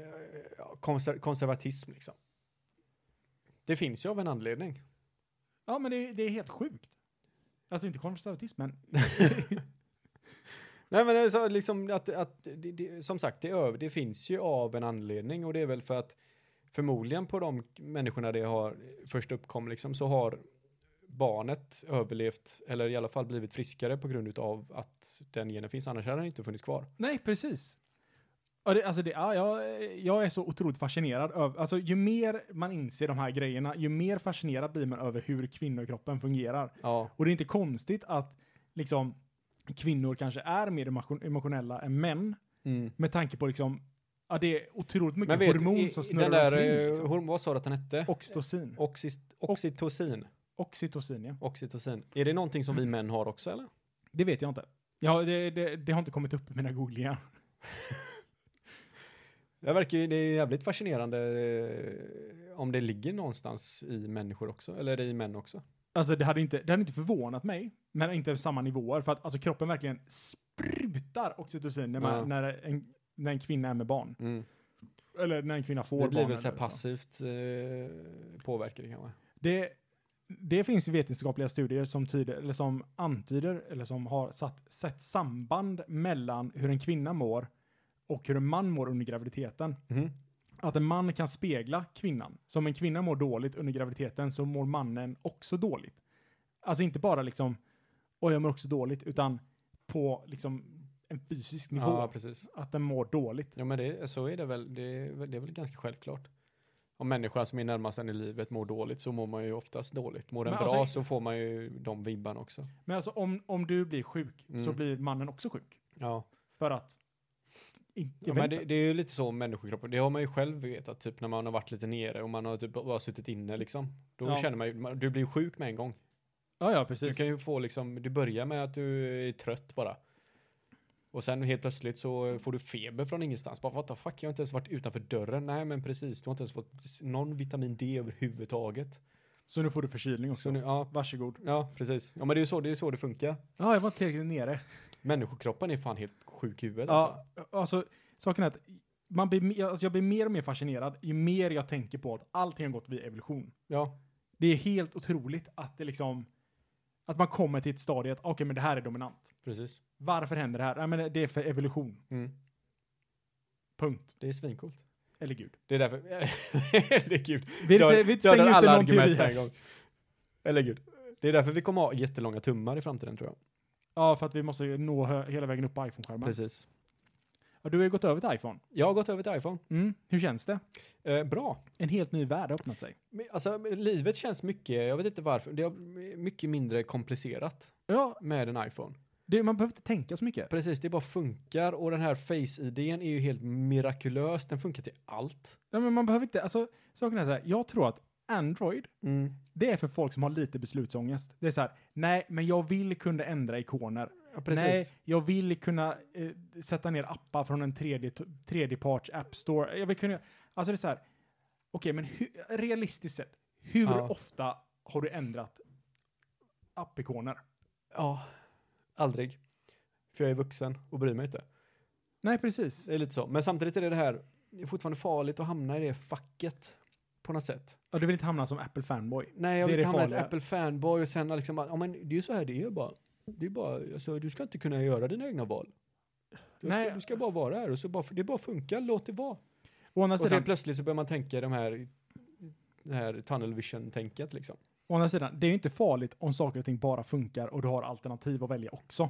C: ja, konser konservatism liksom. Det finns ju av en anledning.
D: Ja, men det, det är helt sjukt. Alltså inte konservatism, men
C: Nej, men det är så, liksom att, att det, det, som sagt, det, över, det finns ju av en anledning och det är väl för att förmodligen på de människorna det har först uppkom liksom så har barnet överlevt eller i alla fall blivit friskare på grund av att den genen finns, annars hade den inte funnits kvar.
D: nej, precis. Ja, det, alltså det, ja, jag, jag är så otroligt fascinerad över, alltså ju mer man inser de här grejerna, ju mer fascinerad blir man över hur kvinnokroppen fungerar.
C: Ja,
D: Och det är inte konstigt att liksom kvinnor kanske är mer emotio- emotionella än män,
C: mm.
D: med tanke på liksom Ja, det är otroligt mycket
C: Men vet,
D: hormon
C: i,
D: som
C: i den
D: snurrar
C: där,
D: omkring.
C: eh,
D: Liksom.
C: hormon, vad sa du att den hette?
D: Oxytocin.
C: Oxy, oxytocin.
D: Oxytocin, ja.
C: Oxytocin. Är det någonting som vi män har också eller?
D: Det vet jag inte. Ja, det, det, det har inte kommit upp i mina googlingar.
C: Det verkar ju, det är jävligt fascinerande eh, om det ligger någonstans i människor också, eller i män också.
D: Alltså det hade, inte, det hade inte förvånat mig, men inte på samma nivåer. För att alltså, kroppen verkligen sprutar oxytocin när, man,
C: Ja.
D: när, en, när en kvinna är med barn.
C: Mm.
D: Eller när en kvinna får
C: Det
D: barn.
C: blir väl så här
D: eller
C: passivt eh, påverkar det kanske.
D: Det, det finns vetenskapliga studier som, tyder, eller som antyder, eller som har satt, sett samband mellan hur en kvinna mår och hur en man mår under graviditeten.
C: Mm-hmm.
D: Att en man kan spegla kvinnan. Så om en kvinna mår dåligt under graviditeten så mår mannen också dåligt. Alltså inte bara liksom, oj jag mår också dåligt, utan på liksom en fysisk nivå.
C: Ja, precis.
D: att den mår dåligt.
C: Ja, men det, så är det väl. Det, är väl- det är väl ganska självklart. Om människan som är närmast en i livet mår dåligt så mår man ju oftast dåligt. Mår den
D: Men
C: bra
D: alltså-
C: så får man ju de vibbarna också.
D: Men alltså om, om du blir sjuk så
C: Mm.
D: blir mannen också sjuk.
C: Ja.
D: För att... Jag
C: Ja,
D: vet
C: men det,
D: inte.
C: det är ju lite så om människokroppen, det har man ju själv vetat, typ när man har varit lite nere och man har typ bara suttit inne liksom. Då
D: Ja.
C: känner man ju, man- du blir ju sjuk med en gång.
D: ja, ja,
C: Du
D: precis.
C: kan ju få liksom, du börjar med att du är trött bara. Och sen helt plötsligt så får du feber från ingenstans. Bara what the fuck, jag har inte ens varit utanför dörren. Nej men precis, du har inte ens fått s- någon vitamin D överhuvudtaget.
D: Så nu får du förkylning också.
C: Så nu, ja,
D: Varsågod.
C: ja precis. Ja men det är ju så det, är ju så det funkar.
D: Ja, jag var inte tillräckligt nere.
C: Människokroppen är fan helt sjuk i huvudet alltså.
D: Ja, alltså, saken är att man blir, me- alltså jag blir mer och mer fascinerad ju mer jag tänker på att allting har gått via evolution.
C: Ja,
D: Det är helt otroligt att det liksom... Att man kommer till ett stadie att okej, men det här är dominant.
C: precis.
D: Varför händer det här? Nej, men det- det är för evolution.
C: Mm.
D: Punkt.
C: Det är svinkult.
D: Eller gud.
C: Det är därför, (laughs) det är kul.
D: Vi vill inte, vi vill inte stänga ute någon teori
C: på en
D: här.
C: gång. Eller gud. Det är därför vi kommer ha jättelånga tummar i framtiden tror jag.
D: Ja, för att vi måste ju nå hö- hela vägen upp på iPhone-skärmen.
C: Precis.
D: Ja, du har ju gått över till iPhone.
C: Jag har gått över till iPhone.
D: Mm. Hur känns det?
C: Eh, bra.
D: En helt ny värld har öppnat sig.
C: Men, Alltså men livet känns mycket, jag vet inte varför, det är mycket mindre komplicerat
D: Ja,
C: med en iPhone.
D: det, man behöver inte tänka så mycket.
C: Precis, det bara funkar och den här Face-idén är ju helt mirakulös, den funkar till allt.
D: Ja, men man behöver inte, alltså, saken är så här, jag tror att Android,
C: Mm.
D: det är för folk som har lite beslutsångest. Det är så här, nej, men jag vill kunna ändra ikoner.
C: Ja, precis.
D: Nej, jag vill kunna eh, sätta ner appar från en tredje, tredjeparts app store. Jag vill kunna, alltså det är så här, okej, men hu- realistiskt sett, hur
C: Ja.
D: ofta har du ändrat appikoner?
C: Ja, aldrig. För jag är vuxen och bryr mig inte.
D: Nej, precis.
C: Det är lite så. Men samtidigt är det det här, det är fortfarande farligt att hamna i det facket på något sätt.
D: Ja, du vill inte hamna som Apple fanboy.
C: Nej, jag
D: Det är
C: vill inte
D: det
C: hamna i ett
D: farliga.
C: Apple fanboy och sen liksom, bara, ja men det är ju så här det är bara. Det är bara, alltså, du ska inte kunna göra dina egna val. Du ska,
D: Nej.
C: du ska bara vara här och så bara, det bara funkar, låt det vara.
D: Å andra
C: och sen
D: sidan,
C: plötsligt så börjar man tänka de här, det här tunnel vision-tänket liksom.
D: å andra sidan, det är ju inte farligt om saker och ting bara funkar och du har alternativ att välja också.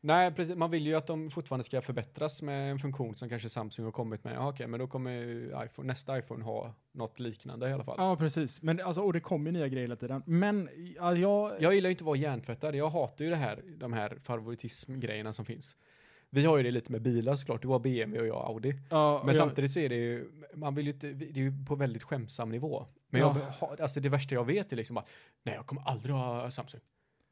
C: Nej, precis. Man vill ju att de fortfarande ska förbättras med en funktion som kanske Samsung har kommit med. Ja, Okej, men då kommer ju iPhone, nästa iPhone ha något liknande i alla fall.
D: Ja, precis. Men alltså, och det kommer ju nya grejer hela tiden. Men ja, jag...
C: Jag gillar ju inte att vara hjärntvättad. Jag hatar ju det här, de här favoritismgrejerna som finns. Vi har ju det lite med bilar såklart. Du har BMW och jag har Audi.
D: ja,
C: Men
D: jag-
C: samtidigt så är det ju, man vill ju inte, det är ju på väldigt skämtsam nivå. Men
D: Ja.
C: jag, har- alltså det värsta jag vet är liksom att, nej jag kommer aldrig ha Samsung.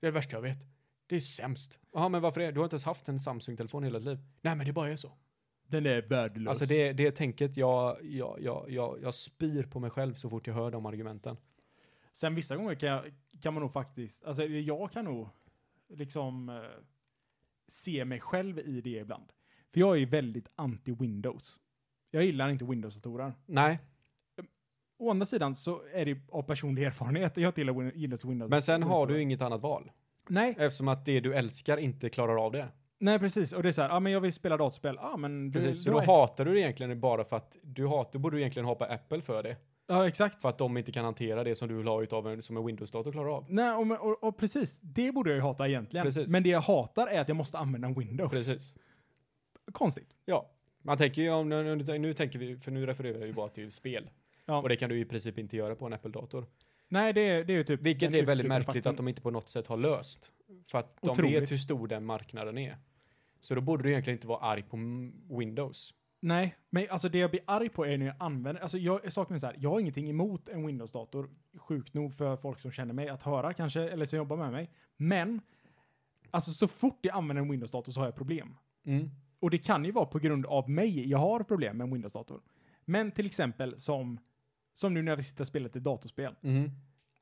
C: Det är det värsta jag vet. Det är sämst. Jaha, men varför det? Du har inte ens haft en Samsung-telefon hela ditt liv. Nej, men det bara är så.
D: Den är värdelös.
C: Alltså det, det tänket, jag, jag, jag, jag, jag spyr på mig själv så fort jag hör de argumenten.
D: Sen vissa gånger kan, jag, kan man nog faktiskt... Alltså jag kan nog liksom eh, se mig själv i det ibland. För jag är ju väldigt anti-Windows. Jag gillar inte Windows-datorer.
C: Nej,
D: Å andra sidan så är det ju av personlig (laughs) erfarenhet. Jag gillar Win- gillar Windows.
C: men sen har du
D: Windows-datorer.
C: ju inget annat val.
D: Nej,
C: Eftersom att det du älskar inte klarar av det.
D: nej precis. Och det är så här, ja ah, men jag vill spela datorspel. Ja ah, men du,
C: Precis,
D: du
C: så då
D: har-
C: hatar du det egentligen bara för att du hatar, borde du egentligen hata Apple för det.
D: Ja exakt.
C: För att de inte kan hantera det som du vill ha utav en, som en Windows-dator klarar av.
D: Nej, och, men- och, och precis. Det borde jag ju hata egentligen.
C: Precis.
D: Men det jag hatar är att jag måste använda Windows.
C: Precis.
D: Konstigt.
C: Ja. Man tänker ju om, nu, nu, nu tänker vi, för nu refererar jag ju bara till spel.
D: Ja.
C: Och det kan du i princip inte göra på en Apple-dator.
D: Nej, det, är- det är ju typ...
C: Vilket
D: den
C: är väldigt
D: uteslutande
C: märkligt
D: faktorn.
C: att de inte på något sätt har löst. För att de
D: Otroligt.
C: vet hur stor den marknaden är. Så då borde du egentligen inte vara arg på m- Windows.
D: Nej, men alltså det jag blir arg på är när jag använder, alltså jag saknar så här, jag har ingenting emot en Windows-dator, sjukt nog för folk som känner mig att höra kanske, eller som jobbar med mig. Men, alltså så fort jag använder en Windows-dator så har jag problem.
C: Mm.
D: Och det kan ju vara på grund av mig jag har problem med en Windows-dator. Men till exempel som, som nu när vi sitter och spelar ett datorspel.
C: Mm.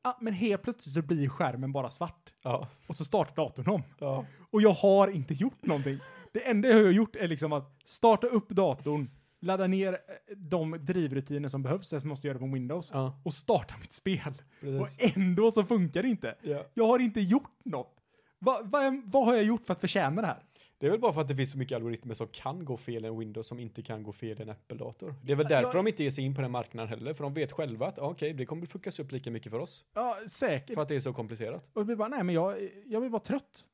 D: Ah, men helt plötsligt så blir skärmen bara svart.
C: Ja.
D: Och så startar datorn om.
C: ja.
D: Och jag har inte gjort någonting. Det enda jag har gjort är liksom att starta upp datorn, ladda ner eh, de drivrutiner som behövs, eftersom jag måste göra det på Windows,
C: Ja,
D: och starta mitt spel. Och
C: precis.
D: ändå så funkar det inte.
C: Ja.
D: Jag har inte gjort något. Va, va, vad har jag gjort för att förtjäna det här?
C: Det är väl bara för att det finns så mycket algoritmer som kan gå fel i en Windows som inte kan gå fel i en Apple-dator. Det är väl därför de inte ger sig in på den marknaden heller, för de vet själva att ah, okej, det kommer fuckas upp lika mycket för oss.
D: Ja, säkert.
C: För att det är så komplicerat.
D: Och vi bara, nej men jag, jag vill vara trött.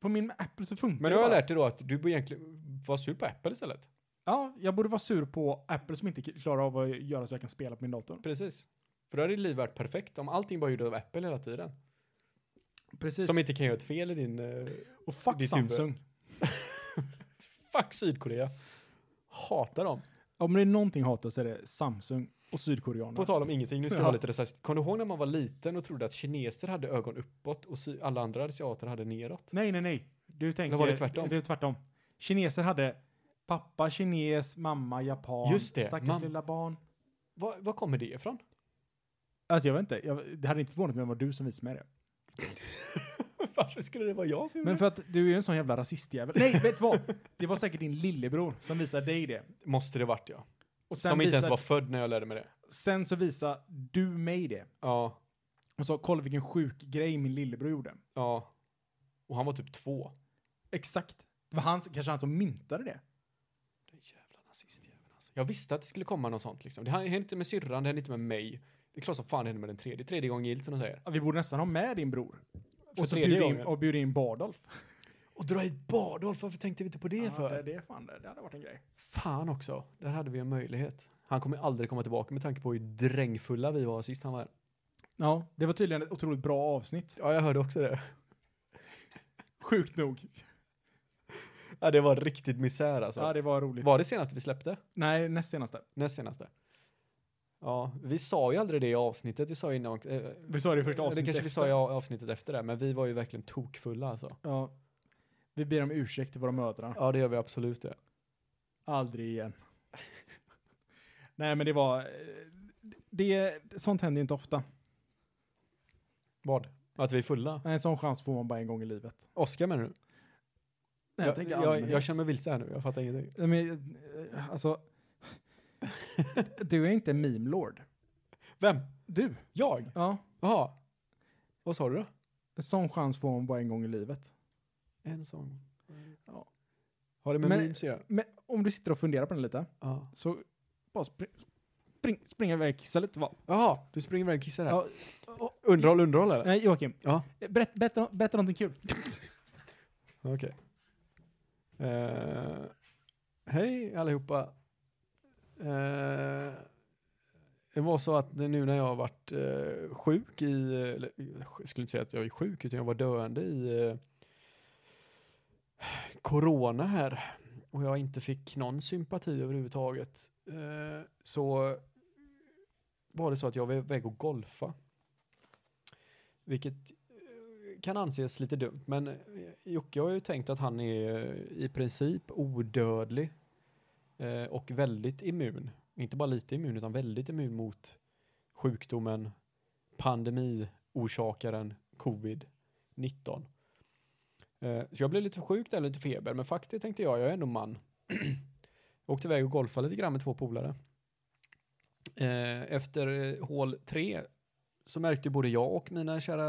D: På min Apple så
C: Men
D: funkar det
C: du har jag
D: bara.
C: lärt dig då att du borde egentligen vara sur på Apple istället.
D: Ja, jag borde vara sur på Apple som inte klarar av att göra så jag kan spela på min dator.
C: Precis. För då hade ditt liv varit perfekt om allting bara gjorde av Apple hela tiden.
D: Precis.
C: Som inte kan göra ett fel i din... eh,
D: och fuck
C: ditt huvud.
D: Samsung.
C: fuck Sydkorea. Hatar dem.
D: Om det är någonting jag hatar så är det Samsung och sydkoreaner.
C: På tal om ingenting, nu ska jag
D: Ja.
C: vara lite rasistisk. Kommer du ihåg när man var liten och trodde att kineser hade ögon uppåt och sy- alla andra asiater hade neråt?
D: Nej, nej, nej. Du tänker...
C: var det tvärtom?
D: Det är tvärtom. Kineser hade pappa kines, mamma japan.
C: Just det,
D: Stackars
C: mam-
D: lilla barn.
C: Var, var kommer det ifrån?
D: Alltså jag vet inte, jag, det hade inte förvånat mig om det var du som visade mig
C: Mm.
D: det.
C: Varför skulle det vara jag som gjorde
D: Men för att du är ju en sån jävla rasistjävel. Nej, vet du vad? Det var säkert din lillebror som visade dig det.
C: det? Måste det varit jag.
D: Och sen,
C: Som inte ens
D: visade-
C: var född när jag lärde mig det.
D: sen så visade du mig det.
C: Ja,
D: Och sa kolla vilken sjuk grej min lillebror gjorde.
C: ja. Och han var typ två.
D: Exakt. Det var hans, kanske han som myntade det.
C: Den jävla nazistjäveln alltså. Jag visste att det skulle komma något sånt liksom. Det hände inte med syrran, det hände inte med mig. Det är klart som fan det hände med den tredje. Tredje gången gillt som de säger.
D: Ja, Vi borde nästan ha med din bror.
C: För
D: Och så
C: tredje
D: bjuda in,
C: gången.
D: och bjuda in Bardolf.
C: Och dra hit Bardolf, varför tänkte vi inte på det
D: Ja,
C: för?
D: det, det, är fan, det, det hade varit en grej.
C: Fan också, där hade vi en möjlighet. Han kommer aldrig komma tillbaka med tanke på hur drängfulla vi var sist han var här.
D: Ja, det var tydligen ett otroligt bra avsnitt.
C: Ja, jag hörde också det.
D: Sjukt nog.
C: Ja, det var riktigt misär alltså.
D: Ja, det var roligt.
C: var det senaste vi släppte?
D: Nej, näst senaste.
C: Näst senaste? Ja, vi sa ju aldrig det i avsnittet. Vi sa innan... Eh,
D: Vi sa det i första
C: det
D: avsnittet
C: kanske vi
D: efter.
C: sa i a- avsnittet efter det, men vi var ju verkligen tokfulla alltså.
D: Ja. Vi ber om ursäkt till våra mödrar.
C: Ja, det gör vi absolut det.
D: Aldrig
C: (laughs)
D: igen. Nej, men det var... eh, Det, sånt händer ju inte ofta.
C: Vad? Att vi är fulla?
D: Nej, En sån chans får man bara en gång i livet.
C: Oskar menar du?
D: Nej,
C: jag,
D: tänker
C: jag,
D: allmänhet.
C: jag känner mig vilse här nu, jag fattar ingenting.
D: Nej, Men, eh, alltså... du är inte meme lord.
C: Vem?
D: Du?
C: Jag?
D: Ja.
C: Jaha. Vad sa du då?
D: En sån chans får man bara en gång i livet.
C: En sång.
D: Ja.
C: Har det med
D: Men-
C: memes att göra?
D: Men om du sitter och funderar på den lite,
C: Ja.
D: så bara spring, spring, spring iväg och kissa lite. Va?
C: Jaha, du springer iväg och kissar här.
D: Ja.
C: Underhåll, underhåll eller?
D: Nej, Joakim.
C: Ja.
D: Berätta, berätta, berätta någonting (laughs) kul.
C: Okej. Eh, hej allihopa. Eh, det var så att nu när jag varit eh, sjuk i, eller, jag skulle inte säga att jag är sjuk, utan jag var döende i eh, corona här och jag inte fick någon sympati överhuvudtaget eh, så var det så att jag var iväg och golfa. Vilket eh, kan anses lite dumt, men eh, Jocke har ju tänkt att han är eh, i princip odödlig eh, och väldigt immun. Inte bara lite immun, utan väldigt immun mot sjukdomen, pandemiorsakaren covid-19. Eh, Så jag blev lite sjuk där, lite feber, men faktiskt tänkte jag, jag är ändå man. (clears throat) jag åkte iväg och golfade lite grann med två polare. Eh, Efter eh, hål tre så märkte både jag och mina kära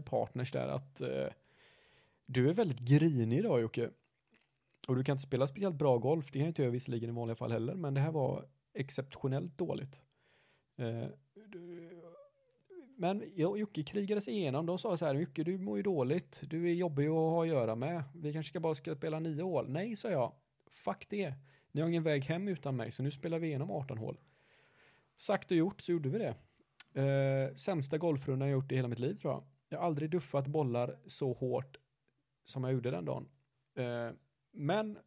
C: partners där att eh, du är väldigt grinig idag Jocke. Och du kan inte spela speciellt bra golf, det kan jag inte göra visserligen i vanliga fall heller, men det här var exceptionellt dåligt. Eh, du- men jag och Jocke krigade sig igenom, de sa så här, Jocke du mår ju dåligt, du är jobbig att ha att göra med, vi kanske ska bara ska spela nio hål. Nej, sa jag, fuck det, ni har ingen väg hem utan mig, så nu spelar vi igenom 18 hål. Sagt och gjort så gjorde vi det. Eh, sämsta golfrundan jag gjort i hela mitt liv tror jag. Jag har aldrig duffat bollar så hårt som jag gjorde den dagen. Eh, men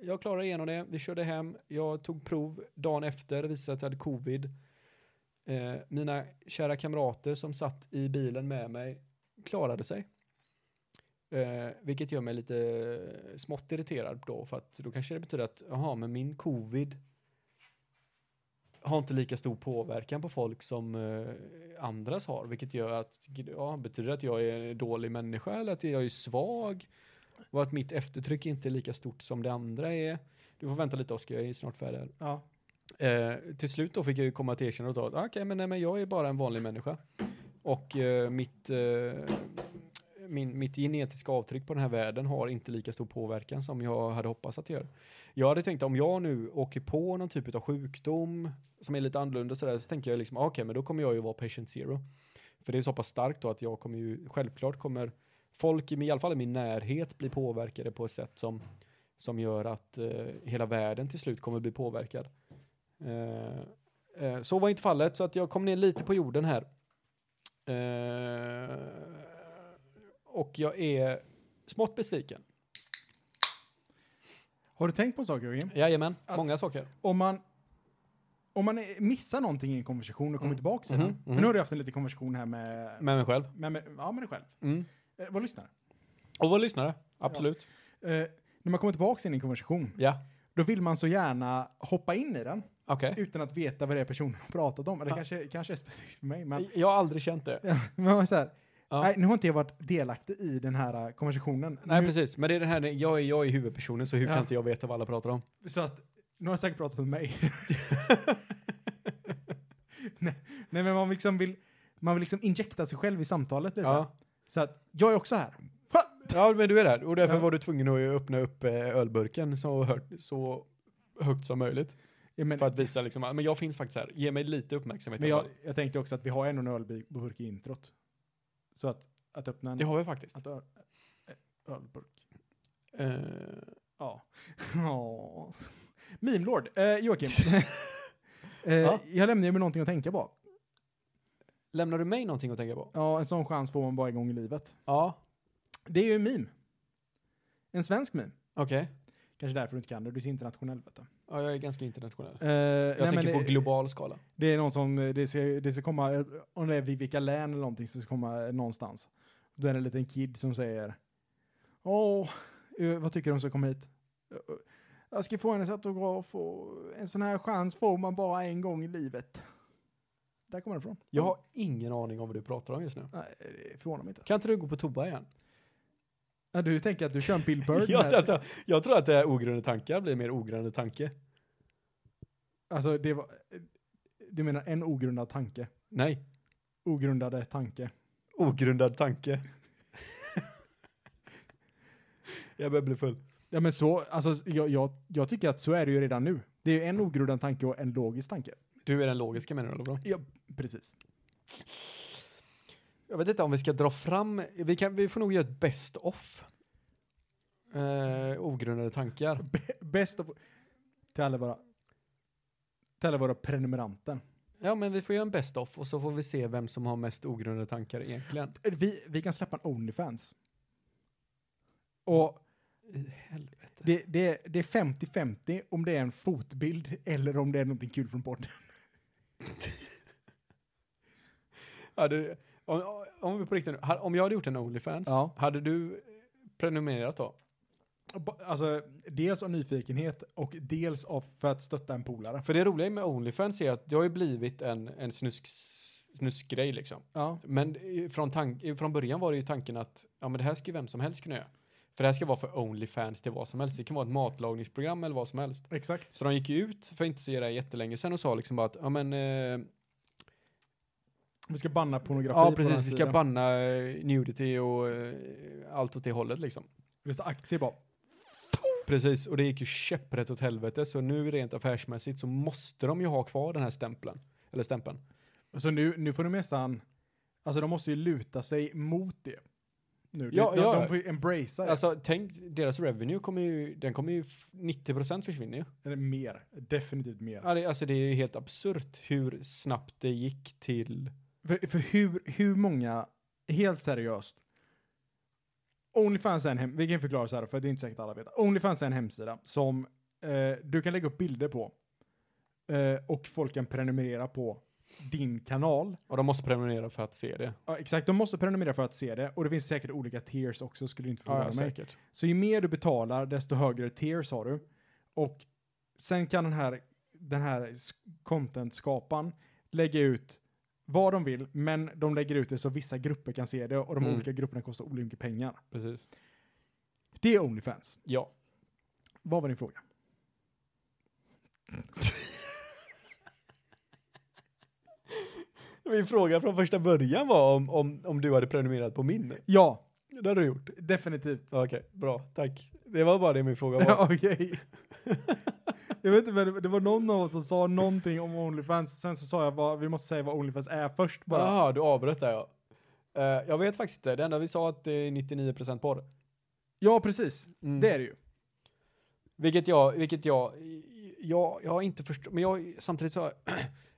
C: jag klarade igenom det, vi körde hem, jag tog prov dagen efter, det visade sig att jag hade covid. Eh, mina kära kamrater som satt i bilen med mig klarade sig. Eh, vilket gör mig lite smått irriterad då, för att då kanske det betyder att, jaha, men min covid har inte lika stor påverkan på folk som eh, andras har, vilket gör att, ja, betyder det att jag är en dålig människa eller att jag är svag? Och att mitt eftertryck inte är lika stort som det andra är. Du får vänta lite Oskar, jag är snart färdig här.
D: Ja.
C: Eh, till slut då fick jag ju komma till erkännandet att "Ah, okej, men, nej, men jag är bara en vanlig människa. Och eh, mitt, eh, min, mitt genetiska avtryck på den här världen har inte lika stor påverkan som jag hade hoppats att det gör. Jag hade tänkt om jag nu åker på någon typ av sjukdom som är lite annorlunda sådär, så tänker jag liksom, okej, men då kommer jag ju vara patient zero. För det är så pass starkt då att jag kommer ju, självklart kommer folk, i min- i alla fall i min närhet, bli påverkade på ett sätt som, som gör att eh, hela världen till slut kommer bli påverkad. Eh, eh, så var inte fallet, så att jag kom ner lite på jorden här. Eh, och jag är smått besviken.
D: Har du tänkt på en sak, Jörgen?
C: Jajamän,
D: Att-
C: många saker.
D: Om man, om man eh, missar någonting i en konversation och kommer
C: Mm.
D: tillbaka sen.
C: Mhm,
D: För
C: mhm.
D: nu har du haft en liten konversation här med,
C: Med mig själv.
D: med, med, ja, med dig själv.
C: Mm.
D: Eh, vad lyssnar?
C: Och vår lyssnare, absolut.
D: Eh, när man kommer tillbaka in i en konversation,
C: Ja,
D: då vill man så gärna hoppa in i den
C: okej.
D: utan att veta vad det är personen har pratat om. Eller
C: Ja.
D: kanske, kanske är specifikt för mig, (laughs) men
C: Jag har aldrig känt det.
D: man var så här,
C: Ja.
D: nej, nu har inte jag varit delaktig i den här eh, konversationen.
C: Nej,
D: nu,
C: precis. Men det är det här, jag är, jag är huvudpersonen, så hur
D: Ja.
C: kan inte jag veta vad alla pratar om?
D: Så att, nu har jag säkert pratat
C: (laughs)
D: om mig. nej, nej, men man liksom vill, man vill liksom injekta sig själv i samtalet lite.
C: Ja.
D: Så att, jag är också här.
C: Ja, men du är där. Och därför
D: Ja.
C: var du tvungen att öppna upp eh, ölburken så, hö- så högt som möjligt.
D: Jag men,
C: För att visa liksom, men jag finns faktiskt här. Ge mig lite uppmärksamhet.
D: men
C: i alla
D: jag,
C: fall.
D: jag tänkte också att vi har ändå en ölburk i introt. Så att, att öppna en
C: Det har vi faktiskt.
D: att öl, eh, ölburk.
C: Eh,
D: Ja. (laughs) Ja. Meme Lord, eh,
C: (laughs)
D: Joakim. eh,
C: Ja.
D: Jag lämnar ju med någonting att tänka på.
C: lämnar du mig någonting att tänka på?
D: Ja, en sån chans får man bara en gång i livet.
C: Ja,
D: Det är ju en meme. En svensk meme.
C: okej.
D: Kanske därför du inte kan det, du är så internationell vet du.
C: Ja, jag är ganska internationell.
D: Eh, nej,
C: Jag
D: men
C: tänker
D: det,
C: på global skala.
D: Det är något som, eh, det ska, det ska komma, eh, om det är vid vilka län eller någonting, så ska komma eh, någonstans. Då är det en liten kid som säger Åh, eh, vad tycker du om ska komma hit? "Eh, eh, Jag ska få hennes autograf och en sån här chans får man bara en gång i livet. Där kommer det ifrån.
C: Jag har ingen aning om vad du pratar om just nu.
D: Nej, det förvånar mig inte.
C: Kan inte du gå på toa (laughs) igen?
D: Ja, Du tänker att du kör en Bill
C: (laughs)
D: Bird?
C: Jag,
D: med-
C: alltså, jag tror att det här ogrundade tankar blir mer ogrundade tanke.
D: alltså, det var, eh, du menar en ogrundad tanke?
C: Nej,
D: Ogrundade tanke.
C: ogrundad (laughs) tanke. jag börjar bli full.
D: Ja men så, alltså jag, jag, jag tycker att så är det ju redan nu. Det är ju en ogrundad tanke och en logisk tanke.
C: Du är den logiska menar du, eller bra?
D: Ja, precis.
C: Jag vet inte om vi ska dra fram, vi, kan, vi får nog göra ett best off. Eh, ogrundade tankar.
D: B- bäst av... Till alla våra... Till alla våra prenumeranter.
C: Ja men vi får göra en best off och så får vi se vem som har mest ogrundade tankar egentligen.
D: Eh, Vi, vi kan släppa en Onlyfans. Och
C: I helvete.
D: det, det, det är 50-50 om det är en fotbild eller om det är någonting kul från podden.
C: Ja, det, om, om vi på riktigt nu, ha- om jag hade gjort en Onlyfans,
D: Ja.
C: hade du eh, prenumererat då?
D: Och ba- Alltså, dels av nyfikenhet och dels av för att stötta en polare.
C: För det roliga med Onlyfans är att det har ju blivit en, en snusk, snuskgrej liksom.
D: Ja.
C: Men eh, från, tank, eh, från början var det ju tanken att ja, men det här ska ju vem som helst kunna göra. För det här ska vara för Onlyfans till vad som helst. Det kan vara ett matlagningsprogram eller vad som helst.
D: Exakt.
C: Så de gick ju ut för inte så jättelänge sedan och sa liksom bara att ja men eh,
D: Vi ska banna pornografi
C: ja
D: på den här
C: precis vi ska
D: sidan.
C: banna eh, nudity och eh, allt åt det hållet liksom.
D: Det är så aktier bara.
C: Precis, och det gick ju käpprätt åt helvete. Så nu rent affärsmässigt så måste de ju ha kvar den här stämpeln. Eller stämpeln.
D: Så Alltså, nu, nu får de nästan, alltså de måste ju luta sig mot det. Nu.
C: Ja,
D: de,
C: ja.
D: de får ju embracea det.
C: Alltså tänk, deras revenue kommer ju, den kommer ju, f- 90% försvinner ju.
D: Eller mer, definitivt mer.
C: Ja, det- Alltså det är ju helt absurt hur snabbt det gick till.
D: För, för hur, hur många, helt seriöst, Onlyfans är en hem- vi kan förklara så här för det är inte säkert alla vet. Onlyfans är en hemsida som eh, du kan lägga upp bilder på eh, och folk kan prenumerera på din kanal.
C: Och de måste prenumerera för att se det.
D: Ja, exakt, de måste prenumerera för att se det och det finns säkert olika tiers också skulle inte förvåna
C: Ja, ja,
D: mig.
C: säkert.
D: Så ju mer du betalar, desto högre tiers har du. Och sen kan den här, den här s- content-skaparen lägga ut vad de vill, men de lägger ut det så vissa grupper kan se det och de
C: Mm.
D: olika grupperna kostar olika mycket pengar.
C: Precis.
D: Det är Onlyfans.
C: Ja.
D: Vad var din fråga?
C: (laughs) Min fråga från första början var om, om, om du hade prenumererat på min.
D: Ja,
C: Det har du gjort.
D: (laughs) definitivt.
C: Okej, bra. Tack. Det var bara det min (laughs) fråga var.
D: Ja, Okej. Jag vet inte, men det- det var någon av oss som sa någonting om Onlyfans och sen så sa jag vad, vi måste säga vad Onlyfans är först bara.
C: Jaha, du avbröt där ja. Eh, jag vet faktiskt inte. Det enda vi sa att det är 99% porr.
D: Ja, precis. Det är det ju.
C: Vilket jag, vilket jag, jag, jag har inte förstått, men jag, (clears throat) samtidigt så, har-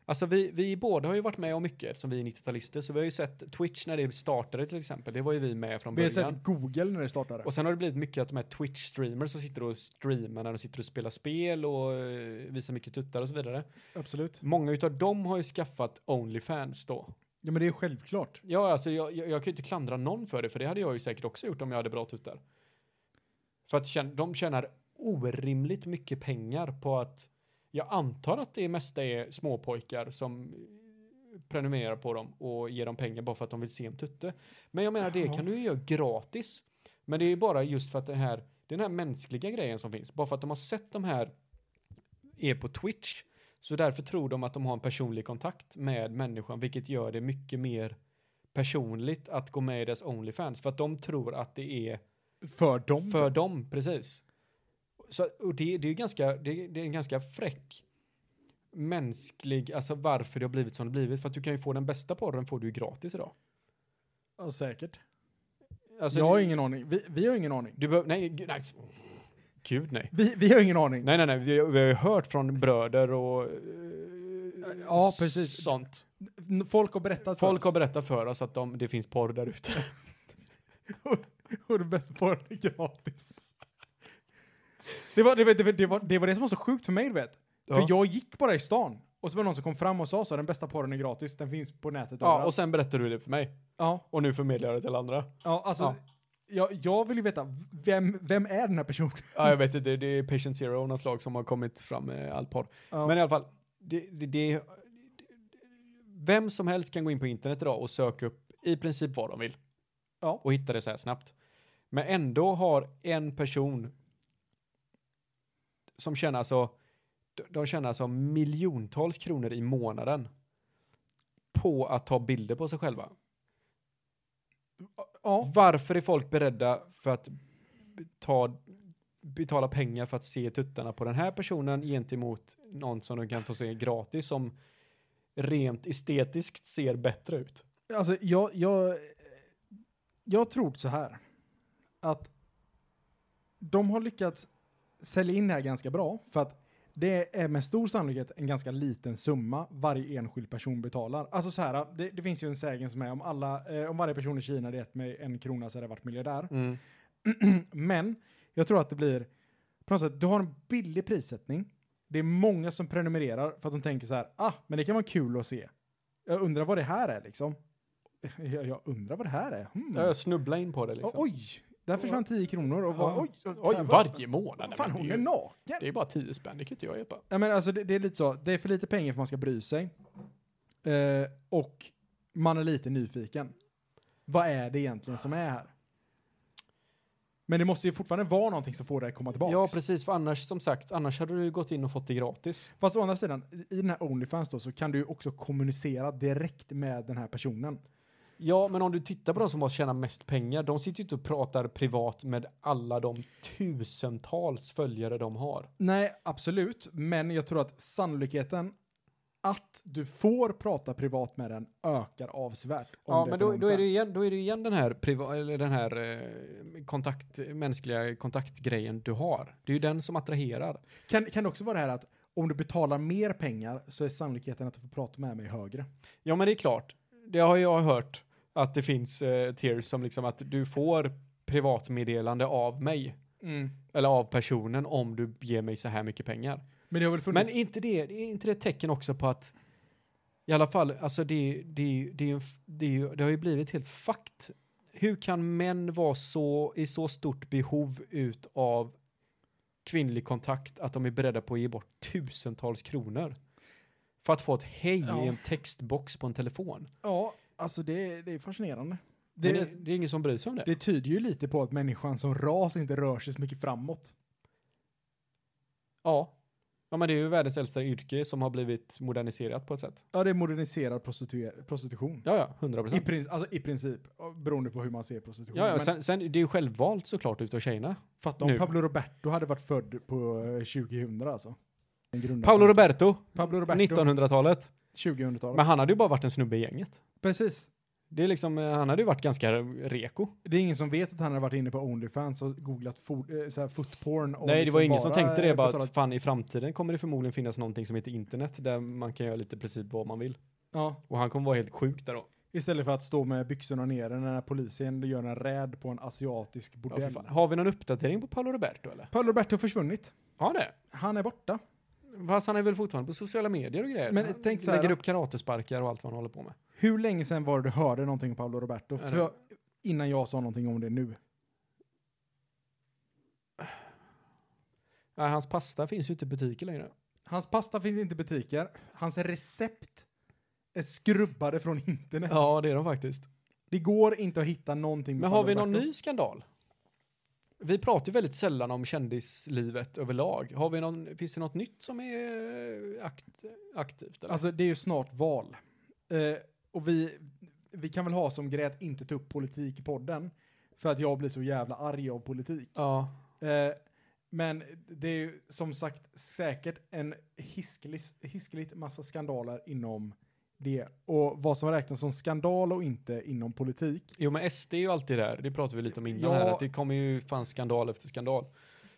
C: alltså vi, vi båda har ju varit med om mycket eftersom vi är 90-talister, så vi har ju sett Twitch när det startade till exempel, det var ju vi med från
D: Vi har
C: början.
D: sett Google när det startade.
C: Och sen har det blivit mycket att de här Twitch-streamers som sitter och streamar när de sitter och spelar spel och eh, visar mycket tuttar och så vidare.
D: Absolut.
C: Många utav dem har ju skaffat Onlyfans då.
D: Ja, men det är självklart.
C: Ja, alltså jag, jag, jag kan ju inte klandra någon för det, för det hade jag ju säkert också gjort om jag hade bra tuttar. För att tjän- de tjänar orimligt mycket pengar på att, jag antar att det mesta är småpojkar som eh, prenumererar på dem och ger dem pengar bara för att de vill se en tutte. Men jag menar, det
D: Ja.
C: kan du ju göra gratis. Men det är ju bara just för att det här, den här mänskliga grejen som finns, bara för att de har sett de här är på Twitch, så därför tror de att de har en personlig kontakt med människan, vilket gör det mycket mer personligt att gå med i deras Onlyfans, för att de tror att det är
D: För dem.
C: för dem, precis. Så, och det, det är ju ganska, det, det är en ganska fräck mänsklig, alltså varför det har blivit som det blivit, för att du kan ju få den bästa porren får du ju gratis idag.
D: Ja, säkert.
C: Alltså,
D: jag har ingen aning. Vi, vi har ingen aning.
C: Du behöver, nej, gud, nej. Gud nej.
D: Vi, vi har ingen aning.
C: Nej, nej, nej, vi, vi har ju hört från bröder och eh,
D: Ja, precis.
C: sånt.
D: N- Folk har berättat
C: Folk
D: för
C: har
D: oss.
C: berättat för oss att de, det finns porr där ute.
D: Och det bästa på det är gratis. Det var det, var, det, var, det, var, det var det som var så sjukt för mig, du vet. För
C: Ja.
D: jag gick bara i stan. Och så var det någon som kom fram och sa så, den bästa porren är gratis, den finns på nätet
C: Ja, och sen berättar du det för mig.
D: Ja,
C: Och nu förmedlar jag det till andra.
D: ja alltså.
C: Ja.
D: Jag, jag vill ju veta, vem, vem är den här personen? (laughs)
C: Ja, jag vet inte. Det är Patient Zero av något slag som har kommit fram med all porr.
D: Ja.
C: Men i alla fall, det, det, det, vem som helst kan gå in på internet idag och söka upp i princip vad de vill.
D: Ja.
C: Och hitta det så här snabbt. Men ändå har en person som tjänar så, de- de tjänar så miljontals kronor i månaden på att ta bilder på sig själva.
D: Ja,
C: Varför är folk beredda för att ta, betala pengar för att se tuttarna på den här personen gentemot någon som de kan få se gratis som rent estetiskt ser bättre ut?
D: alltså jag, jag, jag tror så här. Att de har lyckats sälja in det här ganska bra. För att det är med stor sannolikhet en ganska liten summa varje enskild person betalar. Alltså så här, det, det finns ju en sägen som är om, alla, eh, om varje person i Kina hade gett mig en krona så hade jag varit miljardär.
C: Mm.
D: Men jag tror att det blir, på något sätt, du har en billig prissättning. Det är många som prenumererar för att de tänker så här, ah, men det kan vara kul att se. Jag undrar vad det här är liksom. Jag, jag undrar vad det här är. Hmm.
C: Ja, Jag snubblar in på det liksom.
D: Åh, oj, där försvann 10 kronor och var,
C: Ja.
D: oj, oj,
C: Oj, varje månad.
D: Vad fan,
C: nej, men
D: hon
C: det,
D: är
C: är ju,
D: naken.
C: det är bara tio spänn, det kan inte jag hjälpa.
D: Ja, men alltså, det, det är lite så. Det är för lite pengar för man ska bry sig. Eh, och man är lite nyfiken. Vad är det egentligen som är här? Men det måste ju fortfarande vara någonting som får dig att komma tillbaka.
C: Ja, precis. För annars, som sagt, annars hade du gått in och fått det gratis.
D: Fast å andra sidan, i den här Onlyfans då, så kan du ju också kommunicera direkt med den här personen.
C: Ja, men om du tittar på de som har tjänat mest pengar, de sitter ju inte och pratar privat med alla de tusentals följare de har.
D: Nej, absolut. Men jag tror att sannolikheten att du får prata privat med den ökar avsevärt. om
C: Ja,
D: det
C: men
D: på
C: då, då, är det
D: Onlyfans.
C: ju igen, då är det ju igen den här, priva, eller den här eh, kontakt, mänskliga kontaktgrejen du har. Det är ju den som attraherar.
D: Kan, kan det också vara det här att om du betalar mer pengar så är sannolikheten att du får prata med mig högre?
C: Ja, men det är klart. Det har jag hört att det finns eh, tiers som liksom att du får privatmeddelande av mig,
D: Mm.
C: eller av personen, om du ger mig så här mycket pengar.
D: Men det har väl funnits...
C: Men inte det, det är inte det ett tecken också på att i alla fall, alltså det, det, det, är ju en f- det, är ju- det har ju blivit helt fakt. Hur kan män vara så i så stort behov ut av kvinnlig kontakt att de är beredda på att ge bort tusentals kronor för att få ett hej
D: Ja.
C: i en textbox på en telefon?
D: Ja, alltså det, det är fascinerande.
C: Det,
D: Det,
C: det,
D: det,
C: är ingen som bryr sig om det.
D: tyder ju lite på att människan som ras inte rör sig så mycket framåt.
C: Ja. ja, men det är ju världens äldsta yrke som har blivit moderniserat på ett sätt.
D: Ja, det är moderniserad prostituer- prostitution.
C: Ja, ja, hundra
D: I,
C: procent.
D: prin, alltså, I princip, ja, beroende på hur man ser prostitution.
C: Ja, ja,
D: Men
C: sen, sen, det är ju självvalt såklart utav tjejerna.
D: fatta om
C: nu.
D: Pablo Roberto hade varit född på eh, 2000 alltså. En grundare-
C: Paolo Roberto,
D: Pablo Roberto,
C: 1900-talet.
D: 2000-talet.
C: Men han hade ju bara varit en snubbe i gänget.
D: Precis.
C: Det är liksom, eh, han hade ju varit ganska reko.
D: Det är ingen som vet att han har varit inne på Onlyfans och googlat fo- eh, så här footporn. Och
C: Nej, det var
D: liksom
C: ingen som tänkte
D: eh,
C: det, bara att
D: betalat-
C: fan i framtiden kommer det förmodligen finnas någonting som heter internet där man kan göra lite precis vad man vill.
D: Ja,
C: Och han kommer vara helt sjuk där då.
D: istället för att stå med byxorna nere när polisen gör en räd på en asiatisk
C: Ja, för
D: bordell.
C: fan. Har vi någon uppdatering på Paolo Roberto eller?
D: Paolo Roberto har försvunnit.
C: Har han det?
D: Han är borta.
C: Fast han är väl fortfarande på sociala medier och grejer?
D: Men
C: han
D: tänk så här
C: lägger
D: då.
C: upp karatesparkar och allt vad han håller på med.
D: Hur länge sedan var det du hörde någonting om Paolo Roberto?
C: Ja,
D: För
C: det-
D: jag, innan jag sa någonting om det nu.
C: Nej, hans pasta finns ju inte i butiker längre.
D: Hans pasta finns inte i butiker. Hans recept är skrubbade från internet.
C: Ja, det är de faktiskt.
D: Det går inte att hitta någonting. med
C: Men har
D: Paolo
C: vi någon
D: Roberto.
C: ny skandal? Vi pratar ju väldigt sällan om kändislivet överlag. Har vi någon, finns det något nytt som är eh, akt, aktivt? Eller?
D: Alltså det är ju snart val. Eh, och vi, vi kan väl ha som grej att inte ta upp politik i podden. För att jag blir så jävla arg av politik.
C: ja.
D: Eh, men det är ju som sagt säkert en hiskeligt, hiskeligt massa skandaler inom det. Och vad som räknas som skandal och inte inom politik.
C: Jo, men SD är ju alltid där. Det pratade vi lite om innan
D: Ja.
C: här. Att det kommer ju fan skandal efter skandal.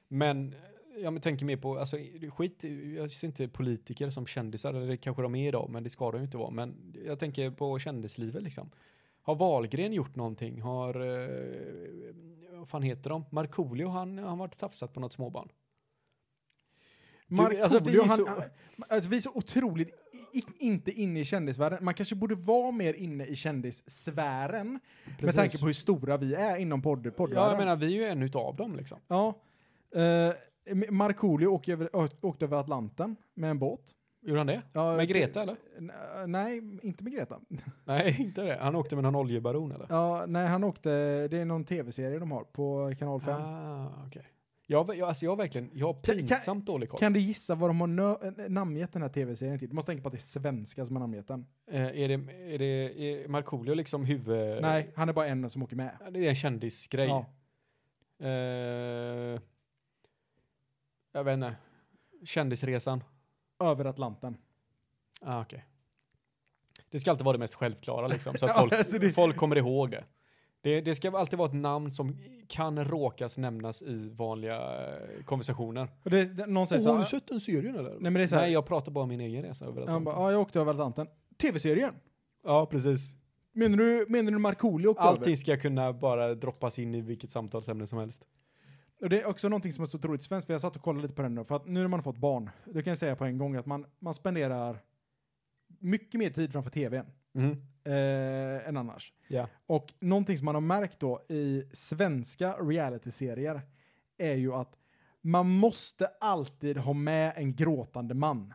C: Men jag men tänker mer på, alltså skit, jag ser inte politiker som kändisar, eller det kanske de är idag, men det ska de ju inte vara. Men jag tänker på kändislivet liksom. Har Wahlgren gjort någonting? Har, eh, vad fan heter de? Markoolio, han han har varit tafsat på något småbarn.
D: Markoolio,
C: alltså, vi är
D: han,
C: så-
D: han, alltså, vi är så otroligt i, i- inte inne i kändisvärlden. Man kanske borde vara mer inne i kändissfären. Med
C: Precis.
D: tanke på hur stora vi är inom podd, poddvärlden.
C: Ja, jag menar, vi är ju en utav dem liksom.
D: Ja. Eh, Markoolio åkte över, ö- åkte över Atlanten med en båt.
C: Gjorde han det?
D: Ja,
C: Med
D: det-
C: Greta eller?
D: N- Nej, inte med Greta.
C: Nej, (laughs) inte det. Han åkte med någon oljebaron eller?
D: Ja, nej, han åkte, det är någon tv-serie de har på kanal 5.
C: Ah, okej. Jag, jag, alltså jag har verkligen, jag har
D: Kan-
C: pinsamt dålig koll.
D: Kan du gissa vad de har nö- eh, namngett den här tv-serien till? Du måste tänka på att det är svenskar som har namngett den.
C: Eh, är det, är det är Markoolio liksom huvud...
D: Nej, han är bara en som åker med.
C: Ja, Det är en kändisgrej.
D: Ja.
C: Eh, jag vet inte. Kändisresan.
D: Över Atlanten.
C: Ah, okej. Det ska alltid vara det mest självklara liksom, så att (laughs)
D: Ja,
C: folk,
D: alltså det-
C: folk kommer ihåg det. det. Det ska alltid vara ett namn som kan råkas nämnas i vanliga eh, konversationer.
D: Och det, det, någon säger så här,
C: sett den serien eller? Nej,
D: Nej, men det är så här-
C: jag pratar bara om min egen resa över
D: han bara,
C: Atlanten.
D: ja, jag åkte över Atlanten. Tv-serien?
C: Ja, precis.
D: Menar du, menar du Markoolio åkte över?
C: Allting ska kunna bara droppas in i vilket samtalsämne som helst.
D: Och det är också någonting som är så otroligt svenskt, för jag satt och kollade lite på den nu, för att nu när man har fått barn, då kan jag säga på en gång att man, man spenderar mycket mer tid framför tvn
C: Mm.
D: eh, än annars.
C: Ja.
D: Och någonting som man har märkt då i svenska realityserier är ju att man måste alltid ha med en gråtande man.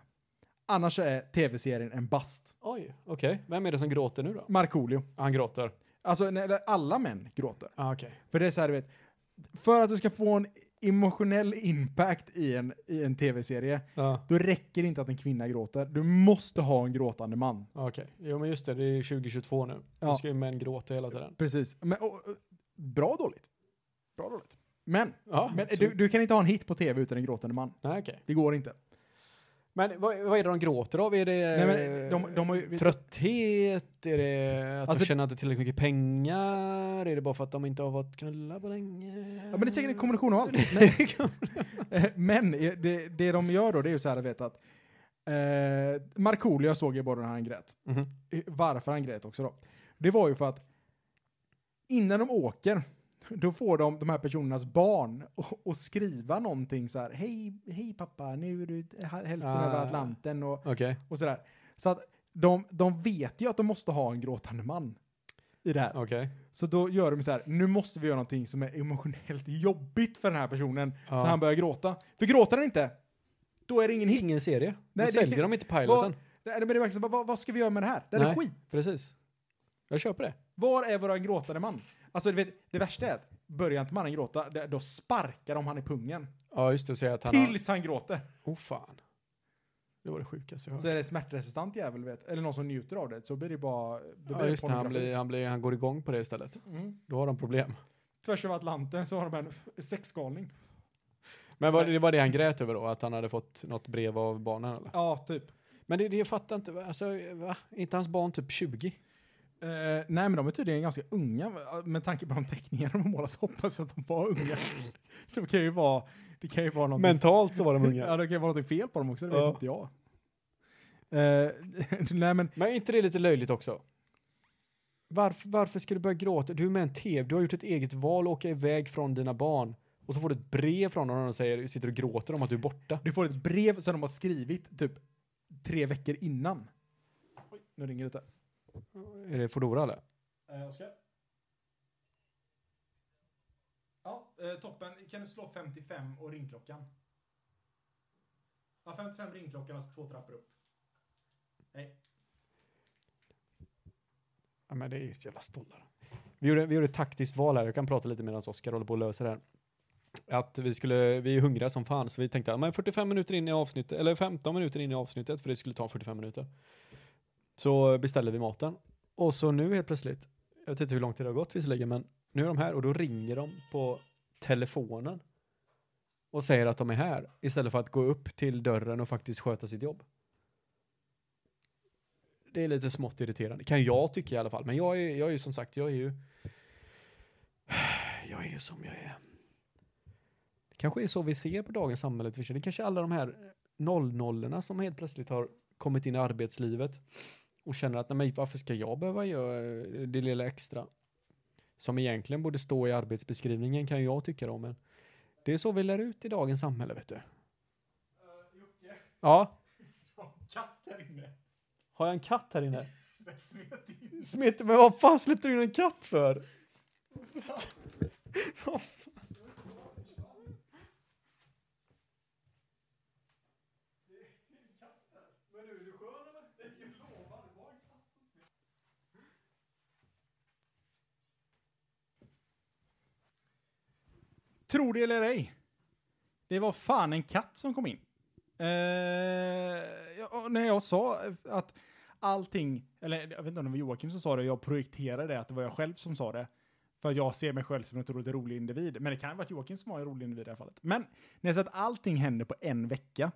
D: Annars är tv-serien en bast.
C: Oj, okej. Vem är det som gråter nu då?
D: Markoolio.
C: Han gråter.
D: Alltså, nej, eller alla män gråter.
C: Ah, okej.
D: För det är så här, du vet, för att du ska få en emotionell impact i en, i en tv-serie,
C: Ja,
D: då räcker det inte att en kvinna gråter. Du måste ha en gråtande man.
C: Ah, okej. Jo, men just det. Det är ju 2022 nu. Nu
D: Ja.
C: ska ju män gråta hela tiden.
D: Precis. Men, och, och, bra dåligt. Bra dåligt. Men,
C: Ja,
D: men
C: så-
D: du, du kan inte ha en hit på tv utan en gråtande man.
C: Nej, okej.
D: Det går inte.
C: Men vad, vad är det de gråter av? Är det
D: Nej, men de, de har ju...
C: trötthet? Är det att
D: Alltså-
C: de känner inte tillräckligt mycket pengar? Är det bara för att de inte har varit knulla på länge?
D: Ja, men det är säkert en kombination av allt. Nej. Eh, (laughs) men eh, det, det de gör då, det är ju så här, du vet att eh, Markoolio jag såg ju bara när han grät.
C: Mhm.
D: varför han grät också då. Det var ju för att innan de åker Då får de de här personernas barn och, och skriva någonting så här. Hej, hej pappa, nu är du här- hälften
C: Ah.
D: över Atlanten och,
C: Okej.
D: och sådär. Så att de, de vet ju att de måste ha en gråtande man i det här.
C: Okej.
D: Så då gör de så här, nu måste vi göra någonting som är emotionellt jobbigt för den här personen.
C: Ja.
D: Så han börjar gråta. För gråter han inte, då är det ingen hit.
C: Ingen serie.
D: Nej,
C: Då
D: det-
C: säljer de inte
D: Vad,
C: piloten.
D: nej, men det är verkligen, så här, vad, vad ska vi göra med det här? Det här är
C: Nej.
D: skit.
C: Precis. Jag köper det.
D: Var är våran gråtande man? Alltså du vet, det värsta är att börjar inte mannen gråta, det- då sparkar de han i pungen.
C: Ja, just det. Säga att han har...
D: Tills han gråter.
C: Oh fan. Det var det sjukaste jag
D: Så
C: hört.
D: är det smärtresistent jävel vet. Eller någon som njuter av det. Så blir det bara... Då blir
C: Ja, just det. Han,
D: pornografi.
C: blir, han, blir, han går igång på det istället.
D: Mm.
C: Då har de problem.
D: Tvärs över Atlanten så har de en sexgalning.
C: Men var, det- det var det han grät över då? Att han hade fått något brev av barnen eller?
D: Ja, typ.
C: Men det, det jag fattar inte. va? Alltså, va? Är inte hans barn typ 20?
D: Eh, nej, men de är tydligen ganska unga. Med tanke på de teckningar de har målat så hoppas jag att de var unga. det kan ju vara... Det kan ju vara någonting...
C: Mentalt så var de (laughs)
D: Ja, det kan ju vara något fel på dem också, det
C: Ja.
D: vet inte jag. Eh, (laughs) nej, men
C: Men är inte det lite löjligt också? Varför, varför ska du börja gråta? Du är med i en tv, du har gjort ett eget val, åka iväg från dina barn. Och så får du ett brev från dem och de säger, sitter och gråter om att du är borta.
D: du får ett brev som de har skrivit typ tre veckor innan. Oj, nu ringer det där.
C: Är det Foodora eller?
D: Oskar? Ja, eh, toppen. Kan du slå 55 och ringklockan? Ja, 55 ringklockan och två trappor upp.
C: Ja men det är ju så jävla stollar. Vi gjorde, vi gjorde ett taktiskt val här, jag kan prata lite medan Oskar håller på att lösa det här. Att vi skulle, vi är hungriga som fan, så vi tänkte att men 45 minuter in i avsnittet, eller 15 minuter in i avsnittet, för det skulle ta 45 minuter. Så beställde vi maten. Och så nu helt plötsligt, jag vet inte hur lång tid det har gått visserligen, men nu är de här och då ringer de på telefonen och säger att de är här istället för att gå upp till dörren och faktiskt sköta sitt jobb. Det är lite smått irriterande, kan jag tycka i alla fall. Men jag är, jag är ju som sagt, jag är ju... (sighs) Jag är ju som jag är. Det kanske är så vi ser på dagens samhälle. Fischer. Det kanske är alla de här nollnollorna som helt plötsligt har kommit in i arbetslivet och känner att nej, men varför ska jag behöva göra eh, det lilla extra? Som egentligen borde stå i arbetsbeskrivningen kan jag tycka då, men det är så vi lär ut i dagens samhälle, vet du.
D: Jocke,
C: Ja,
D: du har en katt här inne.
C: har jag en katt här (laughs) inne?
D: Den smet in.
C: Smet, men vad fan släppte du in en katt för? Vad fan?
D: Tror det eller ej. Det var fan en katt som kom in. Eh, ja, och när jag sa att allting, eller jag vet inte om det var Joakim som sa det, jag projekterade det, att det var jag själv som sa det. För att jag ser mig själv som en otroligt rolig individ. Men det kan ju vara att Joakim som var en rolig individ i det här fallet. Men när jag sa att allting händer på en vecka.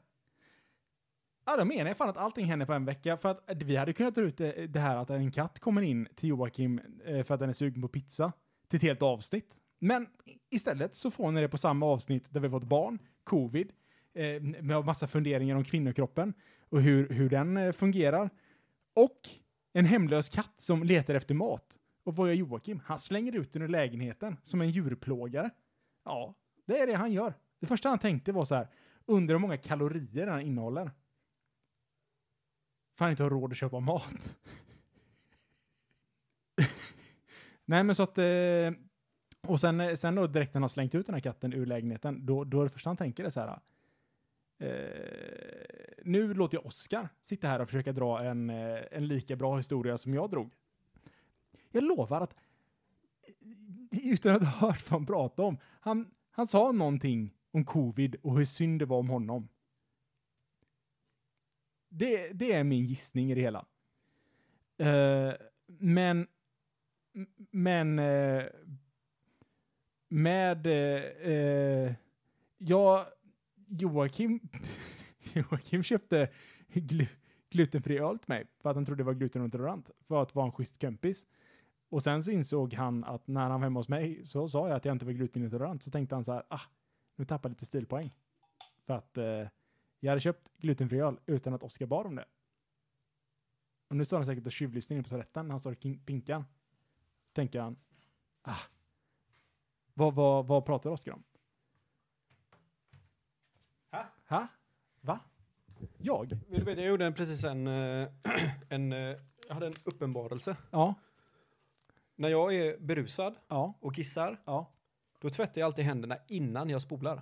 D: Ja, då menar jag fan att allting händer på en vecka. För att vi hade kunnat ta ut det, det här att en katt kommer in till Joakim eh, för att den är sugen på pizza. Till ett helt avsnitt. Men i- istället så får ni det på samma avsnitt där vi fått barn, covid, eh, med massa funderingar om kvinnokroppen och hur, hur den eh, fungerar. Och en hemlös katt som letar efter mat. Och vad gör Joakim? Han slänger ut den ur lägenheten som en djurplågare. Ja, det är det han gör. Det första han tänkte var så här, undrar hur många kalorier den här innehåller. För han inte har råd att köpa mat. (laughs) Nej, men så att... Eh, och sen, eh, sen då direkt när han har slängt ut den här katten ur lägenheten, då, då är det första han tänker det så här. Eh, nu låter jag Oskar sitta här och försöka dra en, eh, en lika bra historia som jag drog. Jag lovar att eh, utan att ha hört vad han pratade om, han, han sa någonting om covid och hur synd det var om honom. Det, det är min gissning i det hela. Eh, men, m- men eh, med eh, eh, ja, Joakim (laughs) Joakim köpte glu, glutenfri öl till mig för att han trodde det var glutenintolerant för att vara en schysst kompis. Och sen så insåg han att när han var hemma hos mig så sa jag att jag inte var glutenintolerant så tänkte han så här, ah, nu tappar jag lite stilpoäng. För att eh, jag hade köpt glutenfri öl utan att Oskar bad om det. Och nu står han säkert och tjuvlyssnar inne på toaletten när han står och kin- pinkar. Tänker han, ah, Vad, vad, vad pratar Oskar om?
C: Ha?
D: Ha? Va? Jag?
C: Vill du veta, jag gjorde en, precis en, eh, (clears throat) en, eh, jag hade en uppenbarelse.
D: Ja,
C: När jag är berusad
D: ja,
C: och kissar,
D: ja.
C: då tvättar jag alltid händerna innan jag spolar.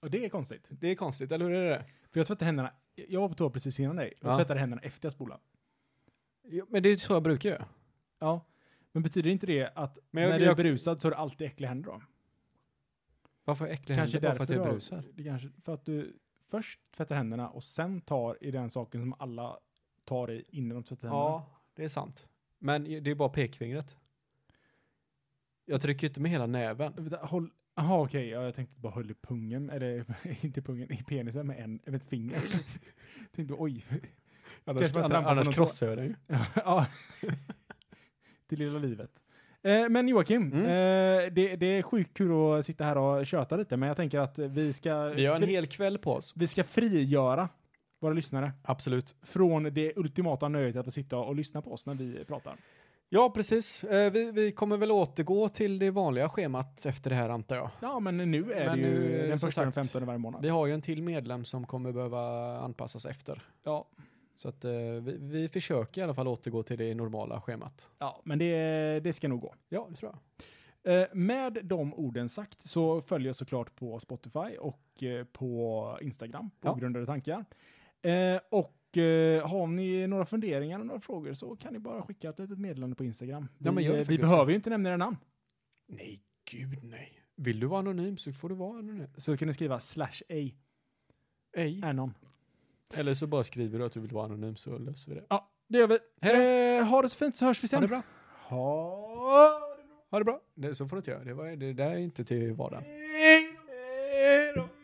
D: Och det är konstigt.
C: Det är konstigt, eller hur är det?
D: För jag tvättade händerna, jag var på toa precis innan dig. Jag
C: Ja.
D: tvättade händerna efter jag spolade.
C: Jo, men det är så jag brukar göra.
D: Ja. Men betyder inte det att
C: Men jag-
D: när du är
C: jag-
D: berusad så har du alltid äckliga händer då?
C: Varför har jag äckliga
D: Kanske
C: händer? Bara för att jag är
D: därför
C: berusad.
D: Det kanske, för att du först tvättar händerna och sen tar i den saken som alla tar i innan de tvättar händerna.
C: Ja, det är sant. Men i- det är bara pekfingret. Jag trycker ju inte med hela näven.
D: Vänta, Håll, aha, okej, ja, jag tänkte bara höll i pungen, eller (laughs) inte i pungen, i penisen med, en, med ett finger. (laughs) tänkte oj,
C: Annars,
D: man
C: anna-
D: trampar på någon
C: annars
D: tå.
C: krossar jag den ju.
D: ja. (laughs) det lilla livet. Eh, men Joakim,
C: Mm.
D: eh, det, det är sjukt kul att sitta här och köta lite, men jag tänker att vi ska,
C: Vi har en
D: fri-
C: hel kväll på oss.
D: vi ska frigöra våra lyssnare
C: Absolut.
D: från det ultimata nöjet att få sitta och lyssna på oss när vi pratar.
C: Ja, precis. Eh, Vi, vi kommer väl återgå till det vanliga schemat efter det här antar jag.
D: Ja, men nu är
C: Men
D: det ju
C: nu, eh,
D: den
C: som
D: första och den
C: sagt,
D: 15 varje månad.
C: Vi har ju en till medlem som kommer behöva anpassas efter.
D: Ja.
C: Så att eh, vi, vi försöker i alla fall återgå till det normala schemat.
D: Ja, men det, det ska nog gå.
C: Ja, det tror jag.
D: Eh, med de orden sagt så följer jag såklart på Spotify och eh, på Instagram, på
C: Ja.
D: Ogrundade tankar. Eh, och eh, har ni några funderingar och några frågor så kan ni bara skicka ett litet meddelande på Instagram. Vi,
C: Ja, men gör det
D: eh,
C: för
D: vi
C: guds
D: behöver ju inte nämna era namn.
C: Nej, gud nej. Vill du vara anonym så får du vara anonym.
D: Så kan ni skriva slash ej,
C: Ej.
D: är någon.
C: Eller så bara skriver du att du vill vara anonym så löser vi det.
D: Ja, det gör vi.
C: Hej
D: Eh, ha det så fint så hörs vi sen.
C: Ha det bra.
D: Ha det bra.
C: Ha det bra. Det, så får du inte göra. Det, var, det där är inte till vardagen.
E: Hej då!